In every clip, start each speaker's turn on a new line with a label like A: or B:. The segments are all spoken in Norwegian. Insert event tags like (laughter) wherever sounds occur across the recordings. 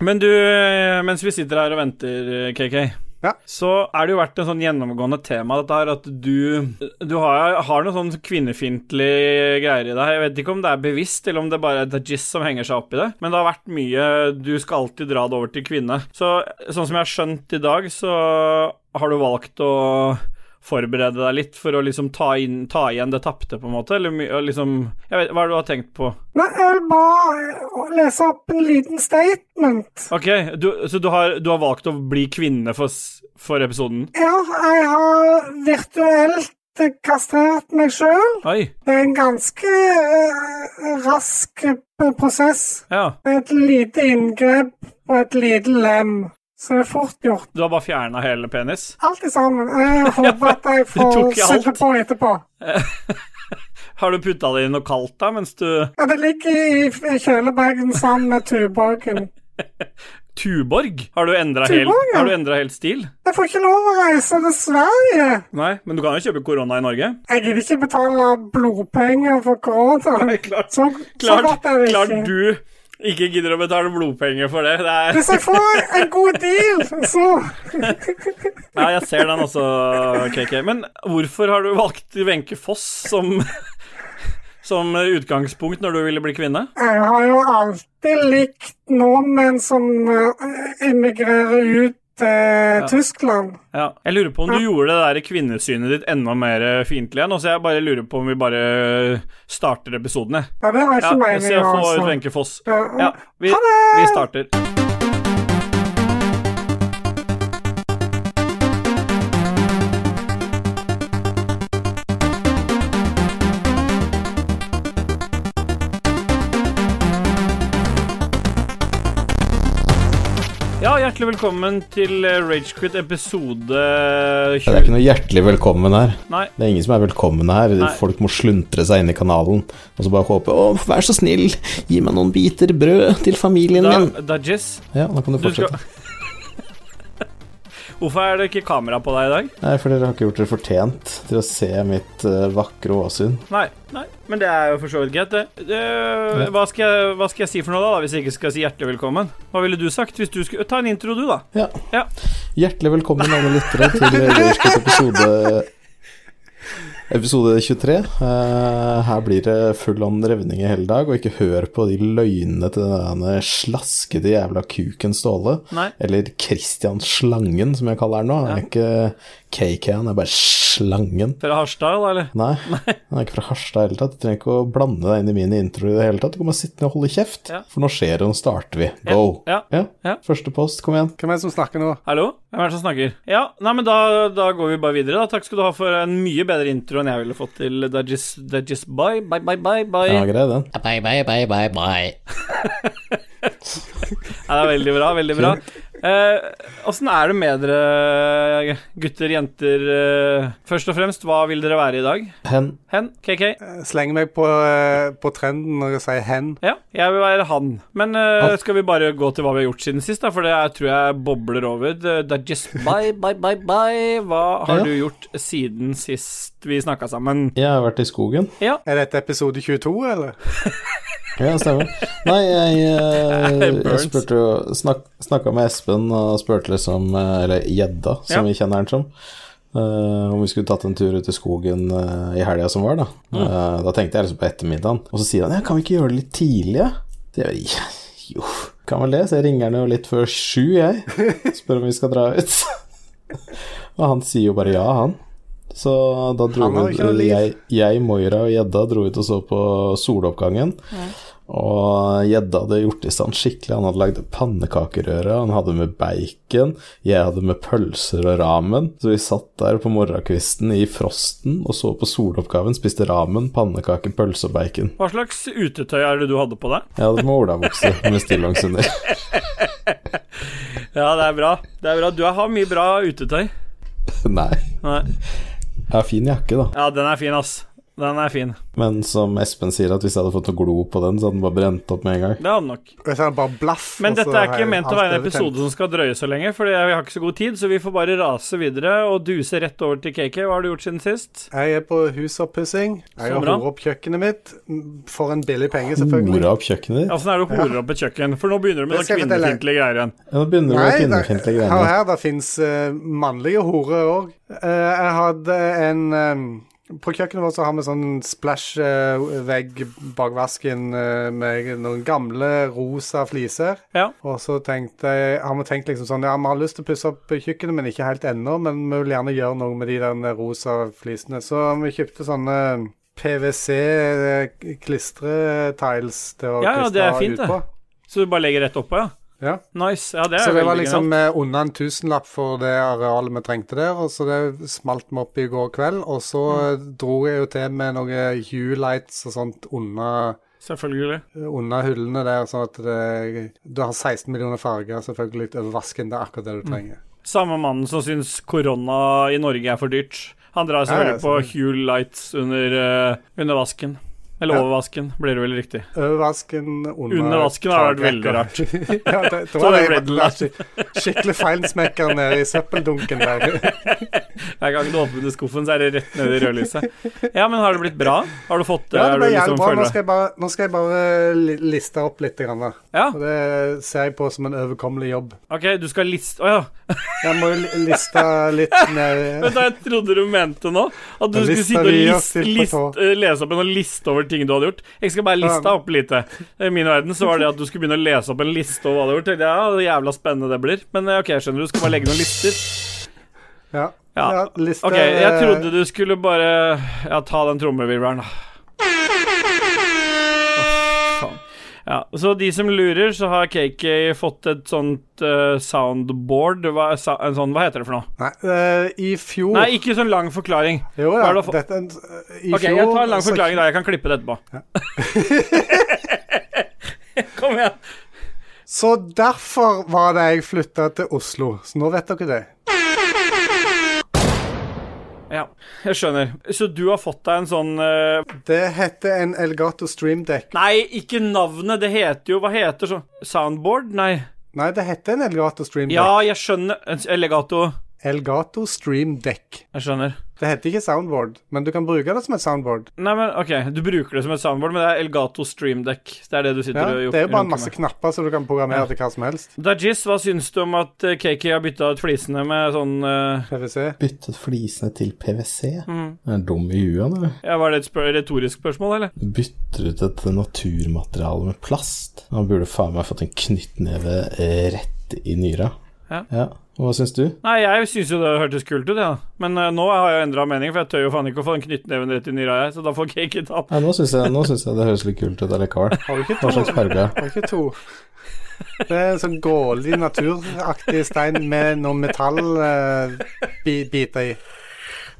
A: Men du, eh, mens vi sitter her og venter, eh, KK,
B: Ja.
A: så er det jo vært en sånn gjennomgående tema, dette her, at du, eh, du har, har noe sånn kvinnefiendtlig greier i deg. Jeg vet ikke om det er bevisst, eller om det bare er Dajis som henger seg opp i det, men det har vært mye Du skal alltid dra det over til kvinne. Så sånn som jeg har skjønt i dag, så har du valgt å forberede deg litt for å liksom ta, inn, ta igjen det tapte, på en måte, eller my- og liksom Jeg vet, hva er det du har tenkt på?
C: Nei, jeg vil bare lese opp en liten statement.
A: Ok, du, så du har, du har valgt å bli kvinne for, s- for episoden?
C: Ja, jeg har virtuelt kastrert meg sjøl.
A: Oi,
C: Det er en ganske eh, rask eh, prosess.
A: ja.
C: Det er et lite inngrep og et lite lem, så det er fort gjort.
A: Du har bare fjerna hele penis?
C: Alt i sammen.
A: (laughs)
C: Jeg håper at jeg får
A: tok i alt.
C: sutte på etterpå.
A: Har du putta det i noe kaldt da, mens du
C: Ja, det ligger i i kjølebagen sammen med tuborgen.
A: Tuborg? Har du endra helt,
C: Tuborg, ja.
A: har du endret helt stil?
C: Jeg får ikke lov å reise til Sverige.
A: Nei, men du kan jo kjøpe korona i Norge.
C: Jeg gidder ikke betale blodpenger for korona.
A: klart.
C: Så, så
A: Klart,
C: godt er det
A: klart
C: ikke.
A: du ikke gidder å betale blodpenger for det. det
C: (laughs)
A: er...
C: Hvis jeg får en god deal, så
A: Ja, jeg ser den også, KK. Men hvorfor har du valgt Wenche Foss som (laughs) som utgangspunkt når du ville bli kvinne?
C: Jeg har jo alltid likt nordmenn som eh, emigrerer ut til Tyskland.
A: Ja. Jeg lurer på om du gjorde det der kvinnesynet ditt enda mer eh, fiendtlig igjen. og Så jeg bare lurer på om vi bare starter episoden, jeg.
C: Ja, det var ikke
A: Ja, så
C: meningen,
A: jeg får ut
C: altså.
A: Wenche Foss.
C: Ja,
A: Ja, vi,
C: Ha det!
A: vi starter. Ja, hjertelig velkommen til eh, Ragequit episode
B: Det er
A: 20.
B: ikke noe hjertelig velkommen her.
A: Nei.
B: Det er ingen som er velkommen her.
A: Nei.
B: Folk må sluntre seg inn i kanalen og så bare håpe Å, vær så snill, gi meg noen biter brød til familien
A: Da,
B: min.
A: Dajis,
B: Ja, da kan du
A: du skal (laughs)
B: fortsette.
A: Hvorfor er det ikke kamera på deg i dag?
B: Nei, for dere har ikke gjort dere fortjent til å se mitt eh, vakre åsyn.
A: Nei, nei, men det er jo for så vidt greit, det. det hva, skal jeg, hva skal jeg si for noe, da, da, hvis jeg ikke skal si hjertelig velkommen? Hva ville du sagt hvis du skulle Ta en intro, du, da.
B: Ja.
A: Ja.
B: Hjertelig velkommen, alle lyttere, til
A: (laughs)
B: Røyskets episode Episode 23. Eh, her blir det full on revning i hele dag, og ikke hør på de løgnene til denne slaskete jævla kuken Ståle.
A: Nei.
B: Eller Christian Slangen, som jeg kaller han nå. Han er ikke KK-en, er bare Slangen.
A: Fra Harstad, da, eller?
B: Nei, han er ikke fra Harstad i det hele tatt. Du trenger ikke å blande deg inn i mine introer i det hele tatt. Du kan bare sitte ned og holde kjeft,
A: Ja.
B: for nå skjer det, og nå starter vi. Go!
A: Ja. Ja.
B: Første post, kom igjen.
C: Hvem er det som snakker nå?
A: Hallo? Hvem er det som snakker? Ja, nei, men da, da går vi bare videre, da. Takk skal du ha for en mye bedre intro enn jeg ville fått til Dajis Dajis Bye, bye, bye, bye. bye.
B: Ja, grei den.
D: Bye bye bye bye bye.
A: Ja, det er veldig bra, veldig bra. Eh, Åssen er det med dere, gutter, jenter? Eh, først og fremst, hva vil dere være i dag?
B: Hen.
A: Hen? KK?
E: Sleng meg på, eh, på trenden når jeg sier hen.
A: Ja, jeg vil være han. Men eh, skal vi bare gå til hva vi har gjort siden sist, da? For det er, tror jeg bobler over. Det det er just bye, bye, bye, bye. Hva har
B: Ja.
A: du gjort siden sist vi snakka sammen?
B: Jeg har vært i skogen.
A: Ja.
E: Er dette episode 22, eller?
B: Ja, stemmer. Nei, jeg,
A: (laughs)
B: eh, jeg
A: Burns.
B: spurte jo snak, Snakka med Espen og spurte liksom eh, Eller Gjedda, som
A: Ja.
B: vi kjenner han som. eh, om vi skulle tatt en tur ut i skogen eh, i helga som var, da.
A: Mm.
B: Eh, da tenkte jeg liksom på ettermiddagen. Og så sier han ja, kan vi ikke gjøre det litt tidlig? Ja? Så jeg, (laughs) ja, jo, kan vel det. Så jeg ringer han jo litt før sju,
A: (laughs)
B: jeg. Spør om vi skal dra ut. og han sier jo bare ja, han. Så da dro
E: Han har
B: vi
E: ikke noe liv.
B: jeg, jeg, Moira og Gjedda dro ut og så på soloppgangen. Og gjedda hadde gjort i stand skikkelig. Han hadde lagd pannekakerøre, han hadde med bacon, jeg hadde med pølser og ramen. Så vi satt der på morgenkvisten i frosten og så på soloppgaven, spiste ramen, pannekaker, pølse og bacon.
A: Hva slags utetøy er det du hadde på deg?
B: Jeg hadde med olabukse (laughs) med stillongs under.
A: Ja, det er bra. Det er bra. Du har mye bra utetøy.
B: Nei.
A: Nei.
B: Jeg har fin jakke, da.
A: Ja, den er fin, ass. Den er fin.
B: Men som Espen sier, at hvis jeg hadde fått noe glo på den, så hadde den bare brent opp med en gang.
A: Det hadde nok.
E: Og så er det bare blaff.
A: Men
E: og så
A: dette er
E: har
A: ikke
E: jeg
A: ment å
E: alt
A: være en
E: overtent.
A: episode som Altså, skal drøye så lenge, for vi har ikke så god tid, så vi får bare rase videre og duse rett over til KK. Hva har du gjort siden sist?
E: Jeg er på husoppussing. Jeg
A: Så
E: har
A: bra.
E: horet opp kjøkkenet mitt. Mm, For en billig penge, selvfølgelig.
B: Hora opp kjøkkenet ditt.
A: Åssen sånn er det å hore opp et kjøkken? For nå begynner du med
E: Det skal
A: sånne
E: jeg fortelle.
A: kvinnefiendtlige greier igjen.
B: Ja, Nå begynner det å være kvinnefiendtlige
E: det- hør
B: greier.
E: her, det fins mannlige horer òg. jeg hadde en eh, På kjøkkenet vårt så har vi sånn splash-vegg bak vasken eh, med noen gamle rosa fliser.
A: Ja.
E: Og så tenkte jeg, har vi tenkt liksom sånn Ja, vi har lyst til å pusse opp kjøkkenet, men ikke helt ennå. Men vi vil gjerne gjøre noe med de der rosa flisene. Så vi kjøpte sånne PwC-klistretiles eh, til å
A: Ja, ja, det
E: klistre
A: er fint, det.
E: utpå.
A: Så du bare legger rett oppå, ja?
E: Ja.
A: Nice. Ja, det er
E: Så det var
A: veldig
E: liksom
A: genialt.
E: eh, under en tusenlapp for det arealet vi trengte der, og så det smalt vi opp i går kveld. Og så
A: Mm.
E: eh, dro jeg jo til med noen hue lights og sånt under
A: Selvfølgelig.
E: under hullene der, sånn at det, du har 16 millioner farger selvfølgelig over vasken. Det er
A: Mm.
E: akkurat det du trenger.
A: Samme mannen som syns korona i Norge er for dyrt. Han drar selvfølgelig
E: Ja, ja,
A: på Hue Lights under, eh, under vasken. Eller
E: Ja.
A: over vasken, blir det vel riktig.
E: Over vasken, under
A: Under vasken har vært veldig
E: takrekka.
A: rart.
E: (laughs) ja, det,
A: (laughs)
E: det
A: Så
E: var
A: det
E: det,
A: ble glatt.
E: skik- skikkelig feilsmekker nede i søppeldunken
A: (laughs)
E: der.
A: Hver gang du åpner skuffen, så er det rett ned i rødlyset. Ja, men har det blitt bra? Har du fått det?
E: Ja,
A: Er
E: det
A: du
E: ble jævlig
A: liksom
E: bra.
A: føler
E: Nå
A: deg-
E: skal jeg bare, nå skal jeg bare li- liste opp litt. Grann, da.
A: Ja,
E: (laughs) Og det ser jeg på som en overkommelig jobb.
A: OK, du skal liste Å ja.
E: Jeg må jo li- liste
A: (laughs)
E: litt ned
A: Vent, da, jeg trodde du mente nå at du
E: Da
A: skulle sitte og
E: lista vi oss
A: list,
E: til på
A: list,
E: tå.
A: eh, lese opp en liste over ting du hadde gjort. Jeg skal bare liste
E: Ja.
A: opp litt. jeg. I min verden så var det at du skulle begynne å lese opp en liste over hva du har gjort. Tenkte jeg, Ja, det jævla spennende det blir. Men eh, OK, jeg skjønner du skal bare legge noen lister.
E: Ja.
A: Ja.
E: liste,
A: OK, jeg trodde du skulle bare Ja, ta den trommevirvelen, da. Åh, faen. Ja, så de som lurer, så har KK fått et sånt eh, soundboard hva, sa, En sånn, hva heter det for noe?
E: Nei, eh, i fjor
A: Nei, ikke sånn lang forklaring.
E: Jo
A: hva
E: da,
A: er det å få-
E: dette eh, I
A: Ok,
E: fjor
A: jeg tar en lang
E: så-
A: forklaring da. Jeg kan klippe det etterpå. (laughs) Kom igjen.
E: Så derfor var det jeg flytta til Oslo. Så nå vet dere det.
A: Ja, jeg skjønner. Så du har fått deg en sånn eh,
E: Det heter en Elgato Stream Deck.
A: Nei, ikke navnet. Det heter jo Hva heter sånn Soundboard? Nei.
E: Nei, det heter en Elgato Stream Deck.
A: Ja, jeg skjønner. En Elegato.
E: Elgato Stream Deck.
A: Jeg skjønner.
E: Det heter ikke soundboard, men du kan bruke det som et soundboard.
A: Nei, men OK, du bruker det som et soundboard, men det er Elgato Streamdeck. Det er det du sitter
E: Ja,
A: og
E: det er jo bare en masse
A: runker med.
E: knapper så du kan programmere til hva som helst.
A: Dajis, hva syns du om at eh, KK har bytta ut flisene med sånn eh,
E: PVC.
B: Byttet flisene til PwC. Er han dum i huet, han, eller?
A: ja, Var det et spør retorisk spørsmål, eller?
B: Bytter ut et naturmateriale med plast. Han burde faen meg fått en knyttneve eh, rett i nyra.
A: Ja.
B: Og Hva syns du?
A: Nei, jeg syns jo det hørtes kult ut, ja. Men eh, nå har jeg endra mening, for jeg tør jo faen ikke å få den knyttneven rett i nyra, jeg, så da får KK ta den.
B: Nei, nå syns jeg, nå syns jeg det høres litt kult ut allikevel.
E: Har du ikke
B: Hva slags farge?
E: Det er ikke to. Det er en sånn gålig, naturaktig stein med noen metallbiter i.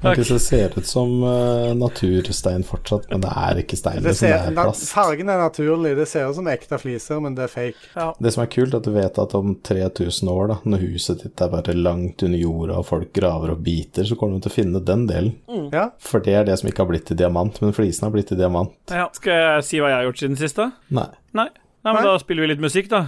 B: Okay, så det ser ut som eh, naturstein fortsatt, men det er ikke stein.
E: Det
B: Det, som
E: ser,
B: er
E: na,
B: plast.
E: fargen er naturlig. Det ser ut som ekte fliser, men det er fake.
B: Det som er kult, er at du vet at om 3000 år, da, når huset ditt er bare langt under jorda og folk graver og biter, så kommer de til å finne den delen.
A: Mm.
E: Ja,
B: For det er det som ikke har blitt til diamant, men flisen har blitt til diamant.
A: Ja. Skal jeg si hva jeg har gjort siden sist, da?
B: Nei.
A: Nei. Nei, men
E: Nei.
A: da spiller vi litt musikk, da.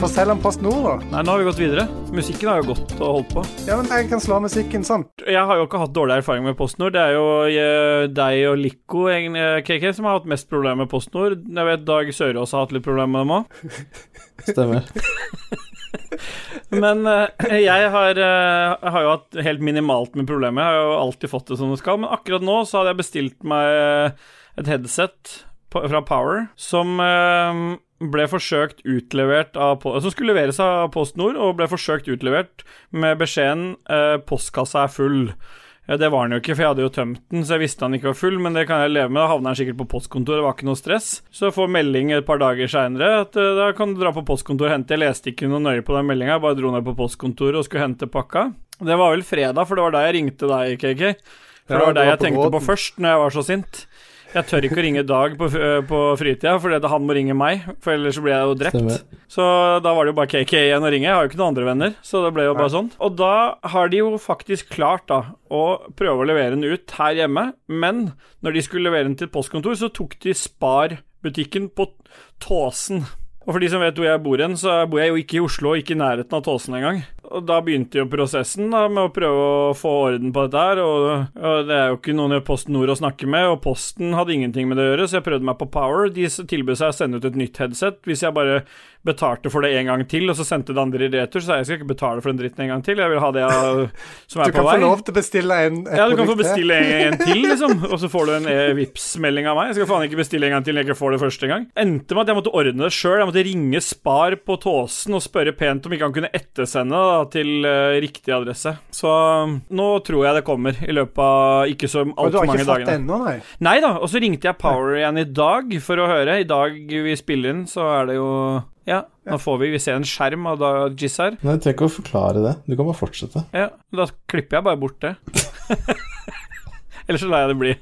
E: Fortell om Post Nord, da.
A: Nei, nå har vi gått videre. Musikken har jo gått og holdt på.
E: Ja, men jeg kan slå av musikken sånn.
A: Jeg har jo ikke hatt dårlig erfaring med PostNord. Det er jo eh, deg og Lico egentlig, eh, KK som har hatt mest problemer med PostNord. Jeg vet Dag Sørås har hatt litt problemer med dem òg.
B: Stemmer.
A: Men eh, jeg har, eh, har jo hatt helt minimalt med problemer. Jeg har jo alltid fått det som det skal. Men akkurat nå så hadde jeg bestilt meg eh, et headset på- fra Power som eh, ble forsøkt utlevert av Po- Som skulle leveres av PostNord, og ble forsøkt utlevert med beskjeden eh, 'postkassa er full'. Ja, det var den jo ikke, for jeg hadde jo tømt den, så jeg visste han ikke var full, men det kan jeg leve med. Da havna han sikkert på postkontoret, det var ikke noe stress. Så jeg får melding et par dager seinere at eh, da kan du dra på postkontoret og hente. Jeg leste ikke noe nøye på den meldinga, jeg bare dro ned på postkontoret og skulle hente pakka. Det var vel fredag, for det var da jeg ringte deg, KK. For
E: Ja,
A: det var
E: du
A: deg
E: var
A: jeg
E: på
A: tenkte på
E: båten.
A: først, når jeg var så sint. Jeg tør ikke å ringe Dag på, f- på fritida, for han må ringe meg, for ellers så blir jeg jo drept.
B: Stemmer.
A: Så da var det jo bare KK igjen å ringe. Jeg har jo ikke noen andre venner. Så det ble jo bare sånn. Og da har de jo faktisk klart da å prøve å levere den ut her hjemme, men når de skulle levere den til et postkontor, så tok de Spar-butikken på Tåsen. Og for de som vet hvor jeg bor hen, så bor jeg jo ikke i Oslo, ikke i nærheten av Tåsen engang. Og da begynte jo prosessen da med å prøve å få orden på dette her, og, og det er jo ikke noen i Posten Nord å snakke med, og Posten hadde ingenting med det å gjøre, så jeg prøvde meg på Power. De s- tilbød seg å sende ut et nytt headset hvis jeg bare betalte for det en gang til, og så sendte det andre i retur, så jeg skal ikke betale for den dritten en gang til, jeg vil ha det jeg,
E: (laughs)
A: som
E: Du
A: er på
E: kan
A: vei.
E: få lov til å bestille en, et
A: Ja, du kan få
E: produkt til.
A: bestille
E: (laughs)
A: en, en til, liksom, og så får du en eh, Vipps-melding av meg. Jeg skal faen ikke bestille en gang til når jeg ikke får det første gang. Endte med at jeg måtte ordne det sjøl. Jeg måtte ringe Spar på Tåsen og spørre pent om ikke han kunne ettersende da, til eh, riktig adresse. Så um, nå tror jeg det kommer i løpet av ikke så
E: Og du
A: altfor
E: har ikke
A: mange
E: fått det
A: dagene.
E: ennå, nei?
A: Nei da, og så ringte jeg Power igjen i dag for å høre. I dag vi spiller inn, så er det jo Ja, nå får vi, vi ser en skjerm av da Giz her.
B: Nei, du trenger ikke å forklare det. Du kan bare fortsette.
A: Ja, da klipper jeg bare bort
E: (laughs)
A: det. Eller så lar jeg det bli.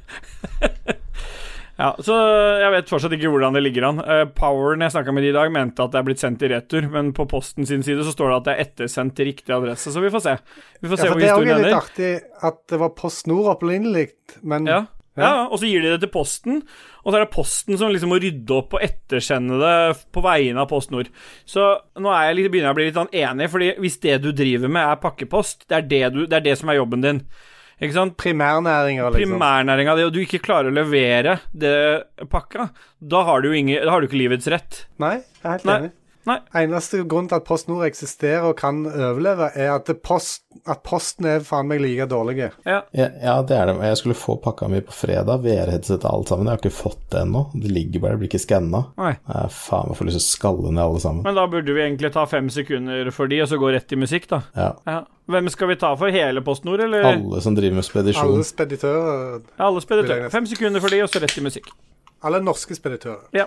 A: ja, så jeg vet fortsatt ikke hvordan det ligger an. Eh, Poweren jeg snakka med de i dag, mente at det er blitt sendt i retur, men på posten sin side så står det at det er ettersendt til riktig adresse, så vi får se. Vi får
E: Ja,
A: se
E: for
A: hvor
E: det er også
A: historien
E: litt
A: ender.
E: artig at det var Post Nord opprinnelig, men
A: Ja.
E: Ja.
A: Ja, og så gir de det til Posten, og så er det Posten som liksom må rydde opp og ettersende det på vegne av Post Nord. Så nå er jeg litt, begynner jeg å bli litt sånn enig, fordi hvis det du driver med er pakkepost, det er det, du, det, er det som er jobben din, ikke sant?
E: primærnæringer, liksom.
A: primærnæringa di, og du ikke klarer å levere det pakka, da har du jo ingen, da har du ikke livets rett.
E: Nei, jeg er helt
A: Nei.
E: enig.
A: Nei.
E: Eneste grunnen til at Post Nord eksisterer og kan overleve, er at, det post, at posten er faen meg like dårlige.
B: Ja, ja, det er det. Jeg skulle få pakka mi på fredag. VR-headset og alt sammen. Jeg har ikke fått det ennå. Det ligger bare, det blir ikke skanna.
A: Nei.
B: Jeg faen meg får lyst til å skalle ned alle sammen.
A: Men da burde vi egentlig ta fem sekunder for de, og så gå rett i musikk, da.
B: Ja.
A: Ja. Hvem skal vi ta for hele Post Nord, eller alle,
B: Alle som driver med spedisjon.
E: Alle speditører
A: alle
E: Vil jeg
A: speditører?
E: nesten.
A: Fem sekunder for de, og så rett i musikk.
E: Alle norske speditører.
A: Ja.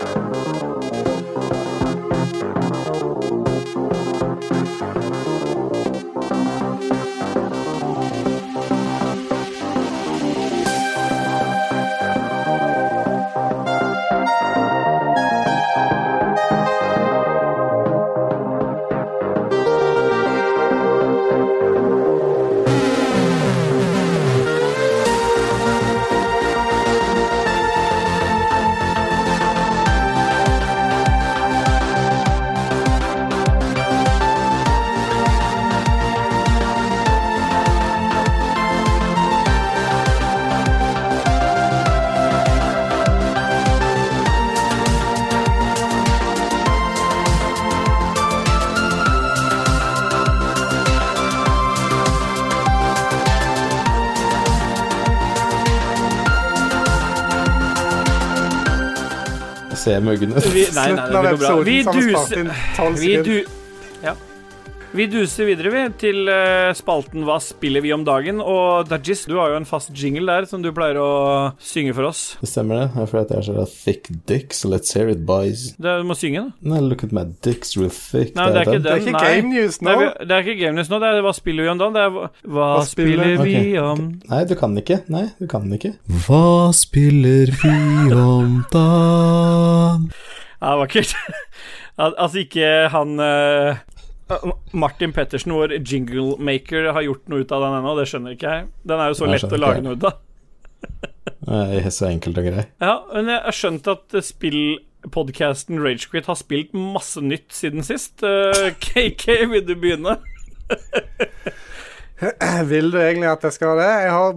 B: Jeg ser muggene.
A: Vi, nei, nei, nei, det går bra. Vi
E: så har vi spart
A: duser
E: inn 12
A: vi,
E: sekunder.
A: du, ja. vi duser videre, vi, til eh, spalten Hva spiller vi om dagen? Og Dajis, du har jo en fast jingle der som du pleier å synge for oss.
B: Det stemmer det. Jeg føler at jeg er så der thick dick, so let's hear it, boys.
A: Det, du må synge, da.
B: Nei, look at my dick's real thick.
A: Nei, det er ikke
B: den.
E: Det er ikke
A: nei.
E: game news nå.
A: Nei, vi- det er ikke Game News nå, det er Hva spiller vi om dagen? Det er Hva, hva
E: spiller-
A: spiller vi
B: Ok.
A: om
B: Nei, du kan ikke. Nei, du kan ikke.
F: Hva spiller vi om dagen?
A: Ja, vakkert. (laughs) Al altså, ikke han eh, Martin Pettersen, vår jinglemaker, har gjort noe ut av den ennå, det skjønner ikke jeg. Den er jo så
B: Nei,
A: lett
B: skjønner
A: å lage
B: ikke jeg.
A: noe ut av.
B: Jeg er så enkelt og grei.
A: Ja, men jeg har skjønt at eh, spillpodcasten Ragequit har spilt (laughs) masse nytt siden sist. Eh, KK, vil du begynne?
E: (clears throat) Vil du egentlig at jeg skal det? Jeg har,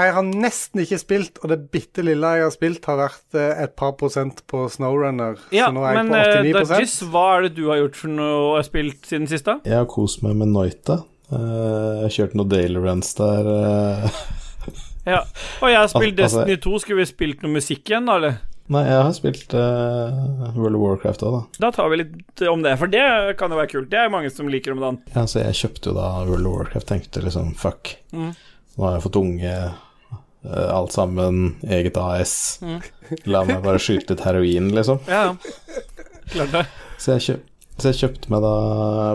E: jeg har nesten ikke spilt, og det bitte lille jeg har spilt, har vært eh, et par prosent på Snowrunner.
A: Ja,
E: så nå er jeg
A: men
E: på
A: eh,
E: 89
A: Dajis, hva er det du har gjort for noe og spilt siden sist, da?
B: Jeg har kost meg med Noita. Eh, Jeg kjørte noen daily runs der. eh. (laughs)
A: Ja. Og jeg har spilt
B: Al- altså-
A: Destiny 2. Skulle vi spilt noe musikk igjen, da, eller?
B: Nei, jeg har spilt eh, World of Warcraft òg, da.
A: Da tar vi litt om det, for det kan jo være kult. Det er mange som liker om dagen.
B: Ja, så jeg kjøpte jo da World of Warcraft, tenkte liksom fuck.
A: Mm.
B: Nå har jeg fått unge, eh, alt sammen, eget AS.
A: Mm.
B: La meg bare skyte litt heroin, liksom.
A: Ja, ja. (laughs) Klart det.
B: Så jeg, kjøp, så jeg kjøpte meg da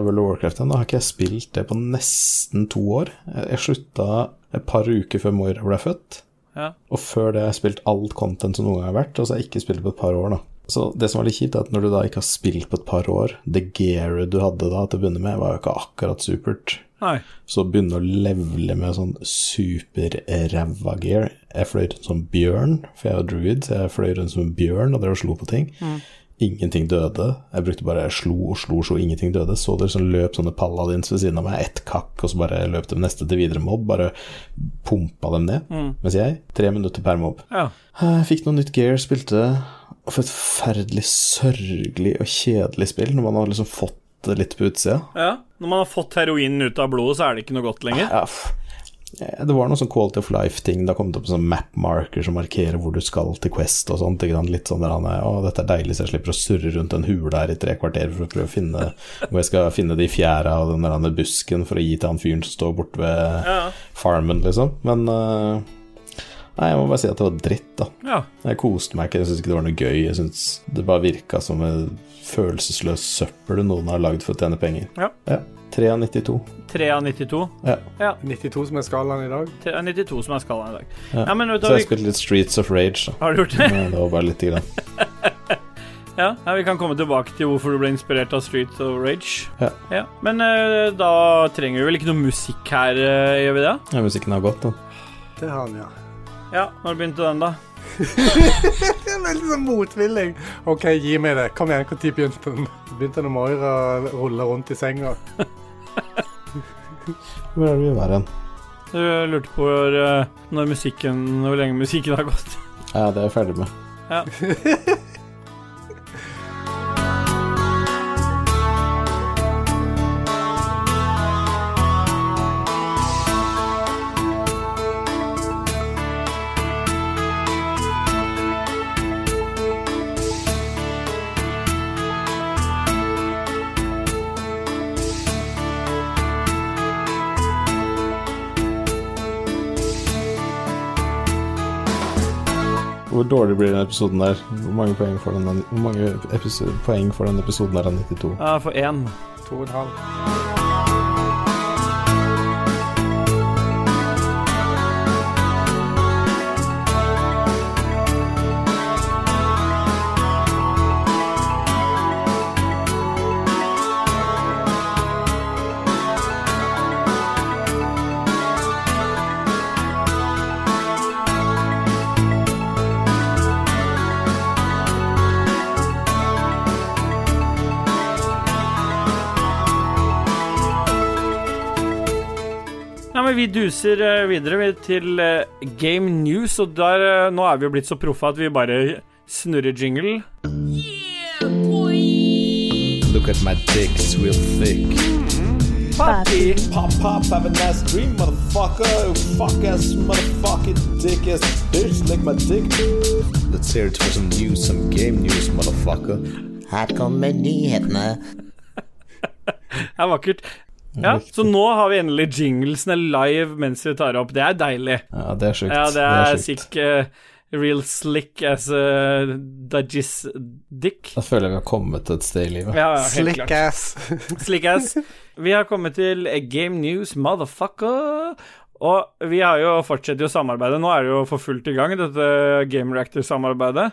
B: World of Warcraft igjen. Da har ikke jeg spilt det på nesten to år. Jeg, jeg slutta et par uker før Moira ble født.
A: Ja.
B: Og før det har jeg spilt alt content som noen gang har vært, og så har jeg ikke spilt på et par år, da. Så det som var litt kjipt, er at når du da ikke har spilt på et par år, det gearet du hadde da til å begynne med, var jo ikke akkurat supert.
A: Nei.
B: Så å begynne å levele med sånn superræva gear Jeg fløy rundt som bjørn, for jeg var druid, så jeg fløy rundt som en bjørn og drev og slo på ting. Ingenting døde. Jeg brukte bare jeg slo og slo og slo, ingenting døde. Så dere som løp sånne paladins ved siden av meg, ett kakk, og så bare løp de neste til videre mobb. Bare pumpa dem ned. Mens jeg, tre minutter per mobb.
A: Ja.
B: Jeg fikk noe nytt gear, spilte og for et forferdelig sørgelig og kjedelig spill, når man har liksom fått det litt på utsida.
A: ja. Når man har fått heroinen ut av blodet, så er det ikke noe godt lenger.
B: Ja, f- det var noe sånn quality of life-ting. Det har kommet opp en sånn map-marker som markerer hvor du skal til Quest og sånt. Ikke sant? Litt sånn der han er Å, dette er deilig, så jeg slipper å surre rundt den hula her i tre kvarter for å prøve å finne hvor jeg skal finne de fjæra og den der andre busken for å gi til han fyren som står borte ved
A: Ja.
B: farmen, liksom. Men eh, Nei, jeg må bare si at det var dritt, da.
A: ja.
B: Jeg koste meg ikke, jeg syns ikke det var noe gøy. Jeg synes Det bare virka som en følelsesløs søppel noen har lagd for å tjene penger.
A: Ja.
B: ja. 93.
A: 3 av 92.
B: Ja.
E: 92 som er skalaen i dag.
A: Tre av 92 som er skalaen i dag.
B: Ja.
A: Ja, men vet du,
B: Så
A: hva,
B: jeg
A: vi,
B: spilte litt Streets of Rage, da.
A: har du gjort det?
B: Nei, det var bare lite grann.
A: Ja. ja, Vi kan komme tilbake til hvorfor du ble inspirert av Street of Rage.
B: Ja.
A: Men eh, da trenger vi vel ikke noe musikk her, eh, gjør vi det?
B: Ja, musikken har gått, da.
E: Det har han, ja.
A: Ja, Når begynte den, da?
E: Det er veldig sånn motvillig. OK, gi meg det. Kom igjen, når begynte den? Begynte når Moira rulla rundt i senga.
B: Hvor er det vi var hen?
A: Du lurte på eh, når musikken, hvor lenge musikken har gått.
B: Ja, det er jeg ferdig med. Hvor dårlig blir den episoden der? Hvor mange poeng får den, hvor mange episo- poeng får den episoden der av 92?
A: Ja, for én.
E: To og en halv.
A: Ja, men vi duser eh, videre vi, til eh, Game News, og der eh, Nå er vi jo blitt så proffe at vi bare snurrer jingle.
G: Look at my dick, it's real thick.
A: Party.
G: Pop, pop, have a nice dream, motherfucker. Fuck ass, motherfucking dick ass bitch, lick my dick. Let's hear it for some news, some game news, motherfucker.
D: Her kommer nyhetene.
A: Det er vakkert. Ja, Så nå har vi endelig jinglesene live mens vi tar opp. Det er deilig.
B: Ja, det er sjukt.
A: Ja, det er
B: sjukt.
A: sick eh, real slick as a dajis dick.
B: Da føler jeg vi har kommet til et sted i livet.
A: Ja, ja, helt
E: Slick
A: klart.
E: ass.
A: Slick ass. Vi har kommet til Game News, motherfucker. Og vi har jo fortsetter jo samarbeidet. Nå er det jo for fullt i gang, dette Game Reactor-samarbeidet.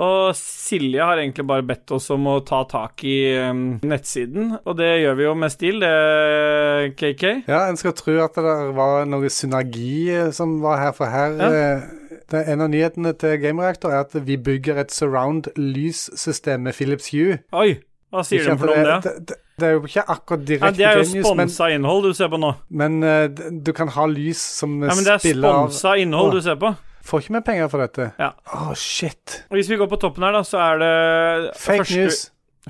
A: Og Silje har egentlig bare bedt oss om å ta tak i um, nettsiden, og det gjør vi jo med stil, det, KK.
E: (laughs) Ja, en skal tro at det der var noe synergi eh, som var her, for her eh, det, En av nyhetene til Game Reactor er at vi bygger et surround-lyssystem med Philips Hue.
A: Oi! Hva sier de
E: Ikke at
A: for noe om det?
E: det, det, det er jo ikke akkurat
A: Ja,
E: direkte
A: det er jo
E: genius, men,
A: sponsa innhold du ser på nå.
E: men eh, d- du kan ha lys som eh,
A: Ja, men det er
E: spiller av
A: sponsa innhold du ser på.
E: Får ikke vi penger for dette?
A: Ja.
E: Å, shit.
A: Og Hvis vi går på toppen her, da, så er det
E: Fake
A: første,
E: news.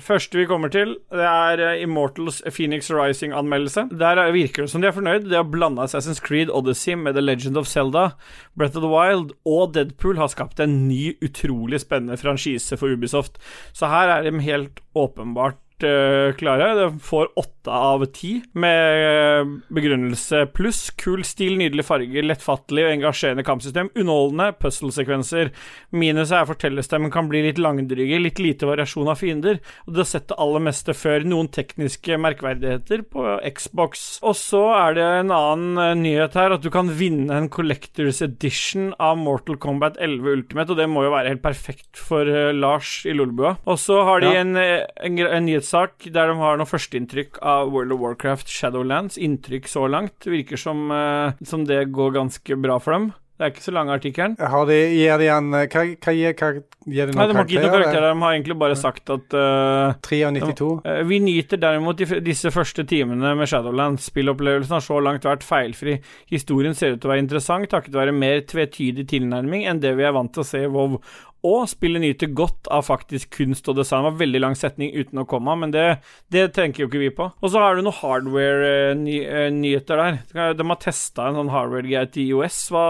A: første vi kommer til, det er eh, Immortals Phoenix Rising-anmeldelse. Der er- virker det som de er fornøyd. De har blanda Assassin's Creed Odyssey med The Legend of Zelda, Breath of the Wild og Deadpool har skapt en ny, utrolig spennende franchise for Ubisoft. Så her er de helt åpenbart eh, klare. De får åtte av ti, med eh, begrunnelse pluss kul stil, nydelige farger, lettfattelig og engasjerende kampsystem, underholdende puzzle-sekvenser. Minuset er fortellerstemmen kan bli litt langdryge, litt lite variasjon av fiender, og du har sett det aller meste før. Noen tekniske merkverdigheter på Xbox. Og så er det en annen eh, nyhet her, at du kan vinne en Collectors Edition av Mortal Kombat 11 Ultimate, og det må jo være helt perfekt for eh, Lars i Lolbua. Og så har de
E: Ja.
A: en, eh, en, gre- en nyhetssak der de har noe førsteinntrykk av World of Warcraft Shadowlands. Inntrykk så langt. Virker som, eh, som det går ganske bra for dem. Det er ikke så lang artikkelen.
E: Har de, gir de en eh, Hva, hva gir, hva, gir de
A: Nei,
E: noen
A: de har ikke gitt noen
E: karakterer?
A: karakterer. De har egentlig bare sagt at eh,
E: 3 av 92?
A: Eh, Vi nyter derimot de f- disse første timene med Shadowlands. Spillopplevelsen har så langt vært feilfri. Historien ser ut til å være interessant takket være mer tvetydig tilnærming enn det vi er vant til å se i WoW. Og spillet nyter godt av faktisk kunst og design. Det var veldig lang setning uten å komme, men det, det tenker jo ikke vi på. Og så har du eh, noen hardware-nyheter der. De har testa en sånn hardware-greie til IOS. Hva,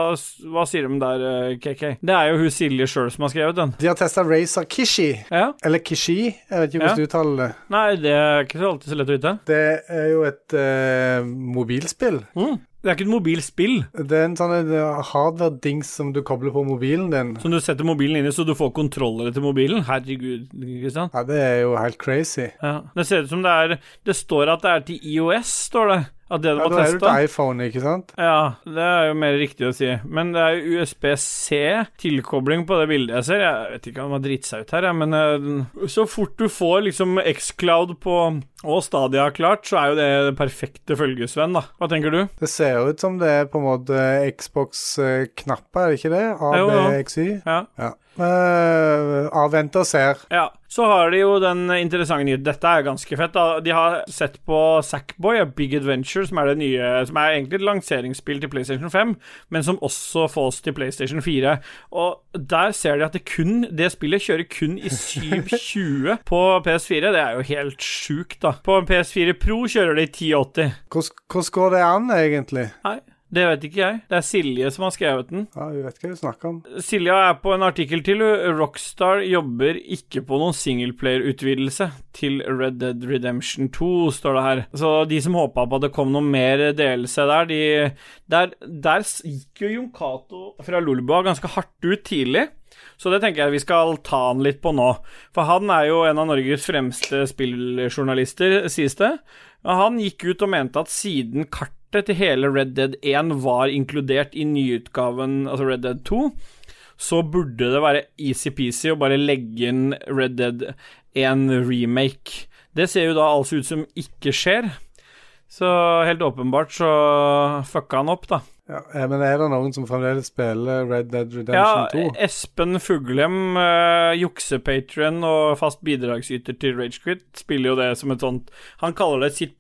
A: hva sier de der, eh, KK? Det er jo hun Silje sjøl som har skrevet den.
E: De har testa Razer Kishi.
A: Ja.
E: Eller Kishi, jeg vet ikke
A: Ja.
E: hvordan du uttaler det.
A: Nei, det er ikke så alltid så lett å vite.
E: Det er jo et eh, mobilspill.
A: Det er ikke et mobilspill.
E: Det er en sånn en, eh, hardware-dings som du kobler på mobilen din.
A: Som du setter mobilen inn i, så du får kontrollere til mobilen? Herregud, Kristian.
E: Ja, det er jo helt crazy.
A: Ja. Det ser ut som det er Det står at det er til IOS, står det. At det de
E: Ja,
A: har
E: da er du
A: testa.
E: til iPhone, ikke sant?
A: Ja, det er jo mer riktig å si. Men det er jo USBC-tilkobling på det bildet jeg ser. Jeg vet ikke om de har dritt seg ut her, jeg, men eh, så fort du får liksom X-Cloud på og Stadia klart, så er jo det det perfekte følgesvenn, da. Hva tenker du?
E: Det ser ut som det er på en måte eh, Xbox-knapper, er det ikke det? A,
A: Jo,
E: B,
A: jo.
E: X, Y.
A: Ja.
E: Ja. Uh, avvente og ser.
A: Ja, så har de jo den interessante nyheten. Dette er ganske fett. da. De har sett på Sackboy, A Big Adventure, som er det nye Som er egentlig et lanseringsspill til PlayStation 5, men som også fås til PlayStation 4. Og der ser de at det kun Det spillet kjører kun i 720 på PS4. Det er jo helt sjukt, da. På en PS4 Pro kjører det i 1080.
E: Hvordan hvordan går det an, egentlig?
A: Nei, det vet ikke jeg. Det er Silje som har skrevet den.
E: Ja, jeg vet hva du snakker om.
A: Silja er på en artikkel til. hun. Rockstar jobber ikke på noen singleplayer-utvidelse til Red Dead Redemption 2, står det her. Så de som håpa på at det kom noe mer delelse der, de Der, der s- gikk jo Jon Cato fra Lolbua ganske hardt ut tidlig. Så det tenker jeg vi skal ta han litt på nå. For han er jo en av Norges fremste spilljournalister, sies det. Og han gikk ut og mente at siden kartet til hele Red Dead 1 var inkludert i nyutgaven, altså Red Dead 2, så burde det være easy-peasy å bare legge inn Red Dead 1 remake. Det ser jo da altså ut som ikke skjer. Så helt åpenbart så fucka han opp, da.
E: Ja, eh, men er det noen som fremdeles spiller Red Dead
A: Ja,
E: Redemption 2?
A: Espen Fuglem, uh, juksepatrion og fast bidragsyter til Ragequit, spiller jo det som et sånt Han kaller det sitt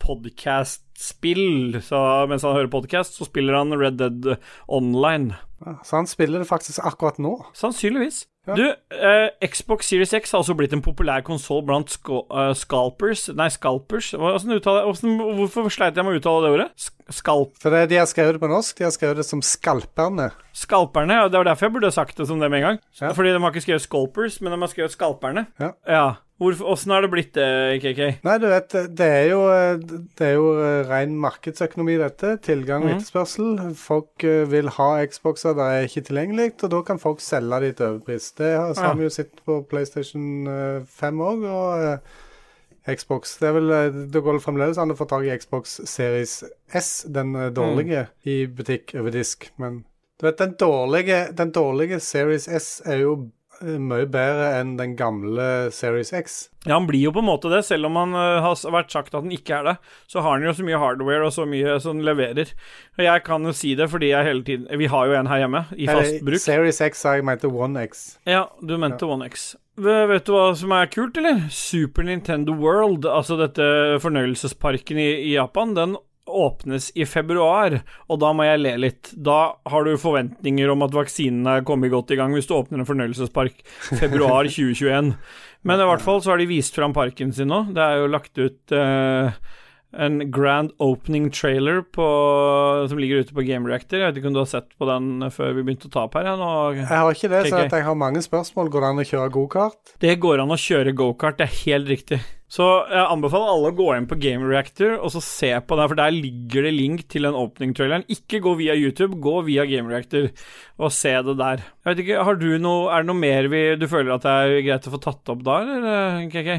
A: podcast-spill. Så mens han hører podcast, så spiller han Red Dead Online.
E: Ja, så han spiller det faktisk akkurat nå.
A: Sannsynligvis. Du, eh, Xbox Series X har altså blitt en populær konsoll blant sko eh, scalpers Nei, scalpers Hva- hvordan uttaler, hvordan, Hvorfor sleit jeg med å uttale det ordet? Sk- Skalp,
E: For det, de har skrevet det på norsk, de har skrevet det som Skalperne.
A: skalperne, ja, det var derfor jeg burde sagt det som det med en gang.
E: Ja.
A: Fordi de har ikke skrevet scalpers, men de har skrevet skalperne.
E: Ja.
A: Hvorfor, hvordan har det blitt eh, det, KK?
E: Nei, du vet, det er jo, eh, det er jo eh, ren markedsøkonomi, dette. Tilgang og etterspørsel. Folk eh, vil ha Xboxer, det er ikke tilgjengelig, og da kan folk selge de til overpris. Det har
A: Ja.
E: så har vi jo sett på PlayStation eh, 5 òg, og eh, Xbox. Det er vel, eh, Da går det fremdeles an å få tak i Xbox Series S, den eh, dårlige, i butikk over disk, men du vet, den dårlige, den dårlige Series S er jo eh, mye bedre enn den gamle Series X.
A: Ja, han blir jo på en måte det, selv om han ø, har s- vært sagt at han ikke er det. Så har han jo så mye hardware og så mye som han leverer. Og jeg kan jo si det fordi jeg hele tiden Vi har jo en her hjemme, i fast
E: Eller,
A: bruk.
E: Series X sa jeg mente One X.
A: Ja, du mente One X. V- Vet du hva som er kult, eller? Super Nintendo World, altså dette fornøyelsesparken i, i Japan, den åpnes i februar, og da må jeg le litt. Da har du forventninger om at vaksinen er kommet godt i gang hvis du åpner en fornøyelsespark februar 2021. Men i hvert fall så har de vist fram parken sin nå. Det er jo lagt ut eh, en grand opening trailer på, som ligger ute på Game Reactor. Jeg vet ikke om du har sett på den før vi begynte å ta opp her? Ja, nå...
E: Jeg har ikke det, så
A: KK.
E: at jeg har mange spørsmål. Går det an å kjøre gokart?
A: Det går an å kjøre gokart, det er helt riktig. Så jeg anbefaler alle å gå inn på Game Reactor og så se på den, for der ligger det link til den opening-traileren. Ikke gå via YouTube, gå via Game Reactor og se det der. Jeg vet ikke, har du noe, Er det noe mer vi, du føler at det er greit å få tatt opp da, eller? KK?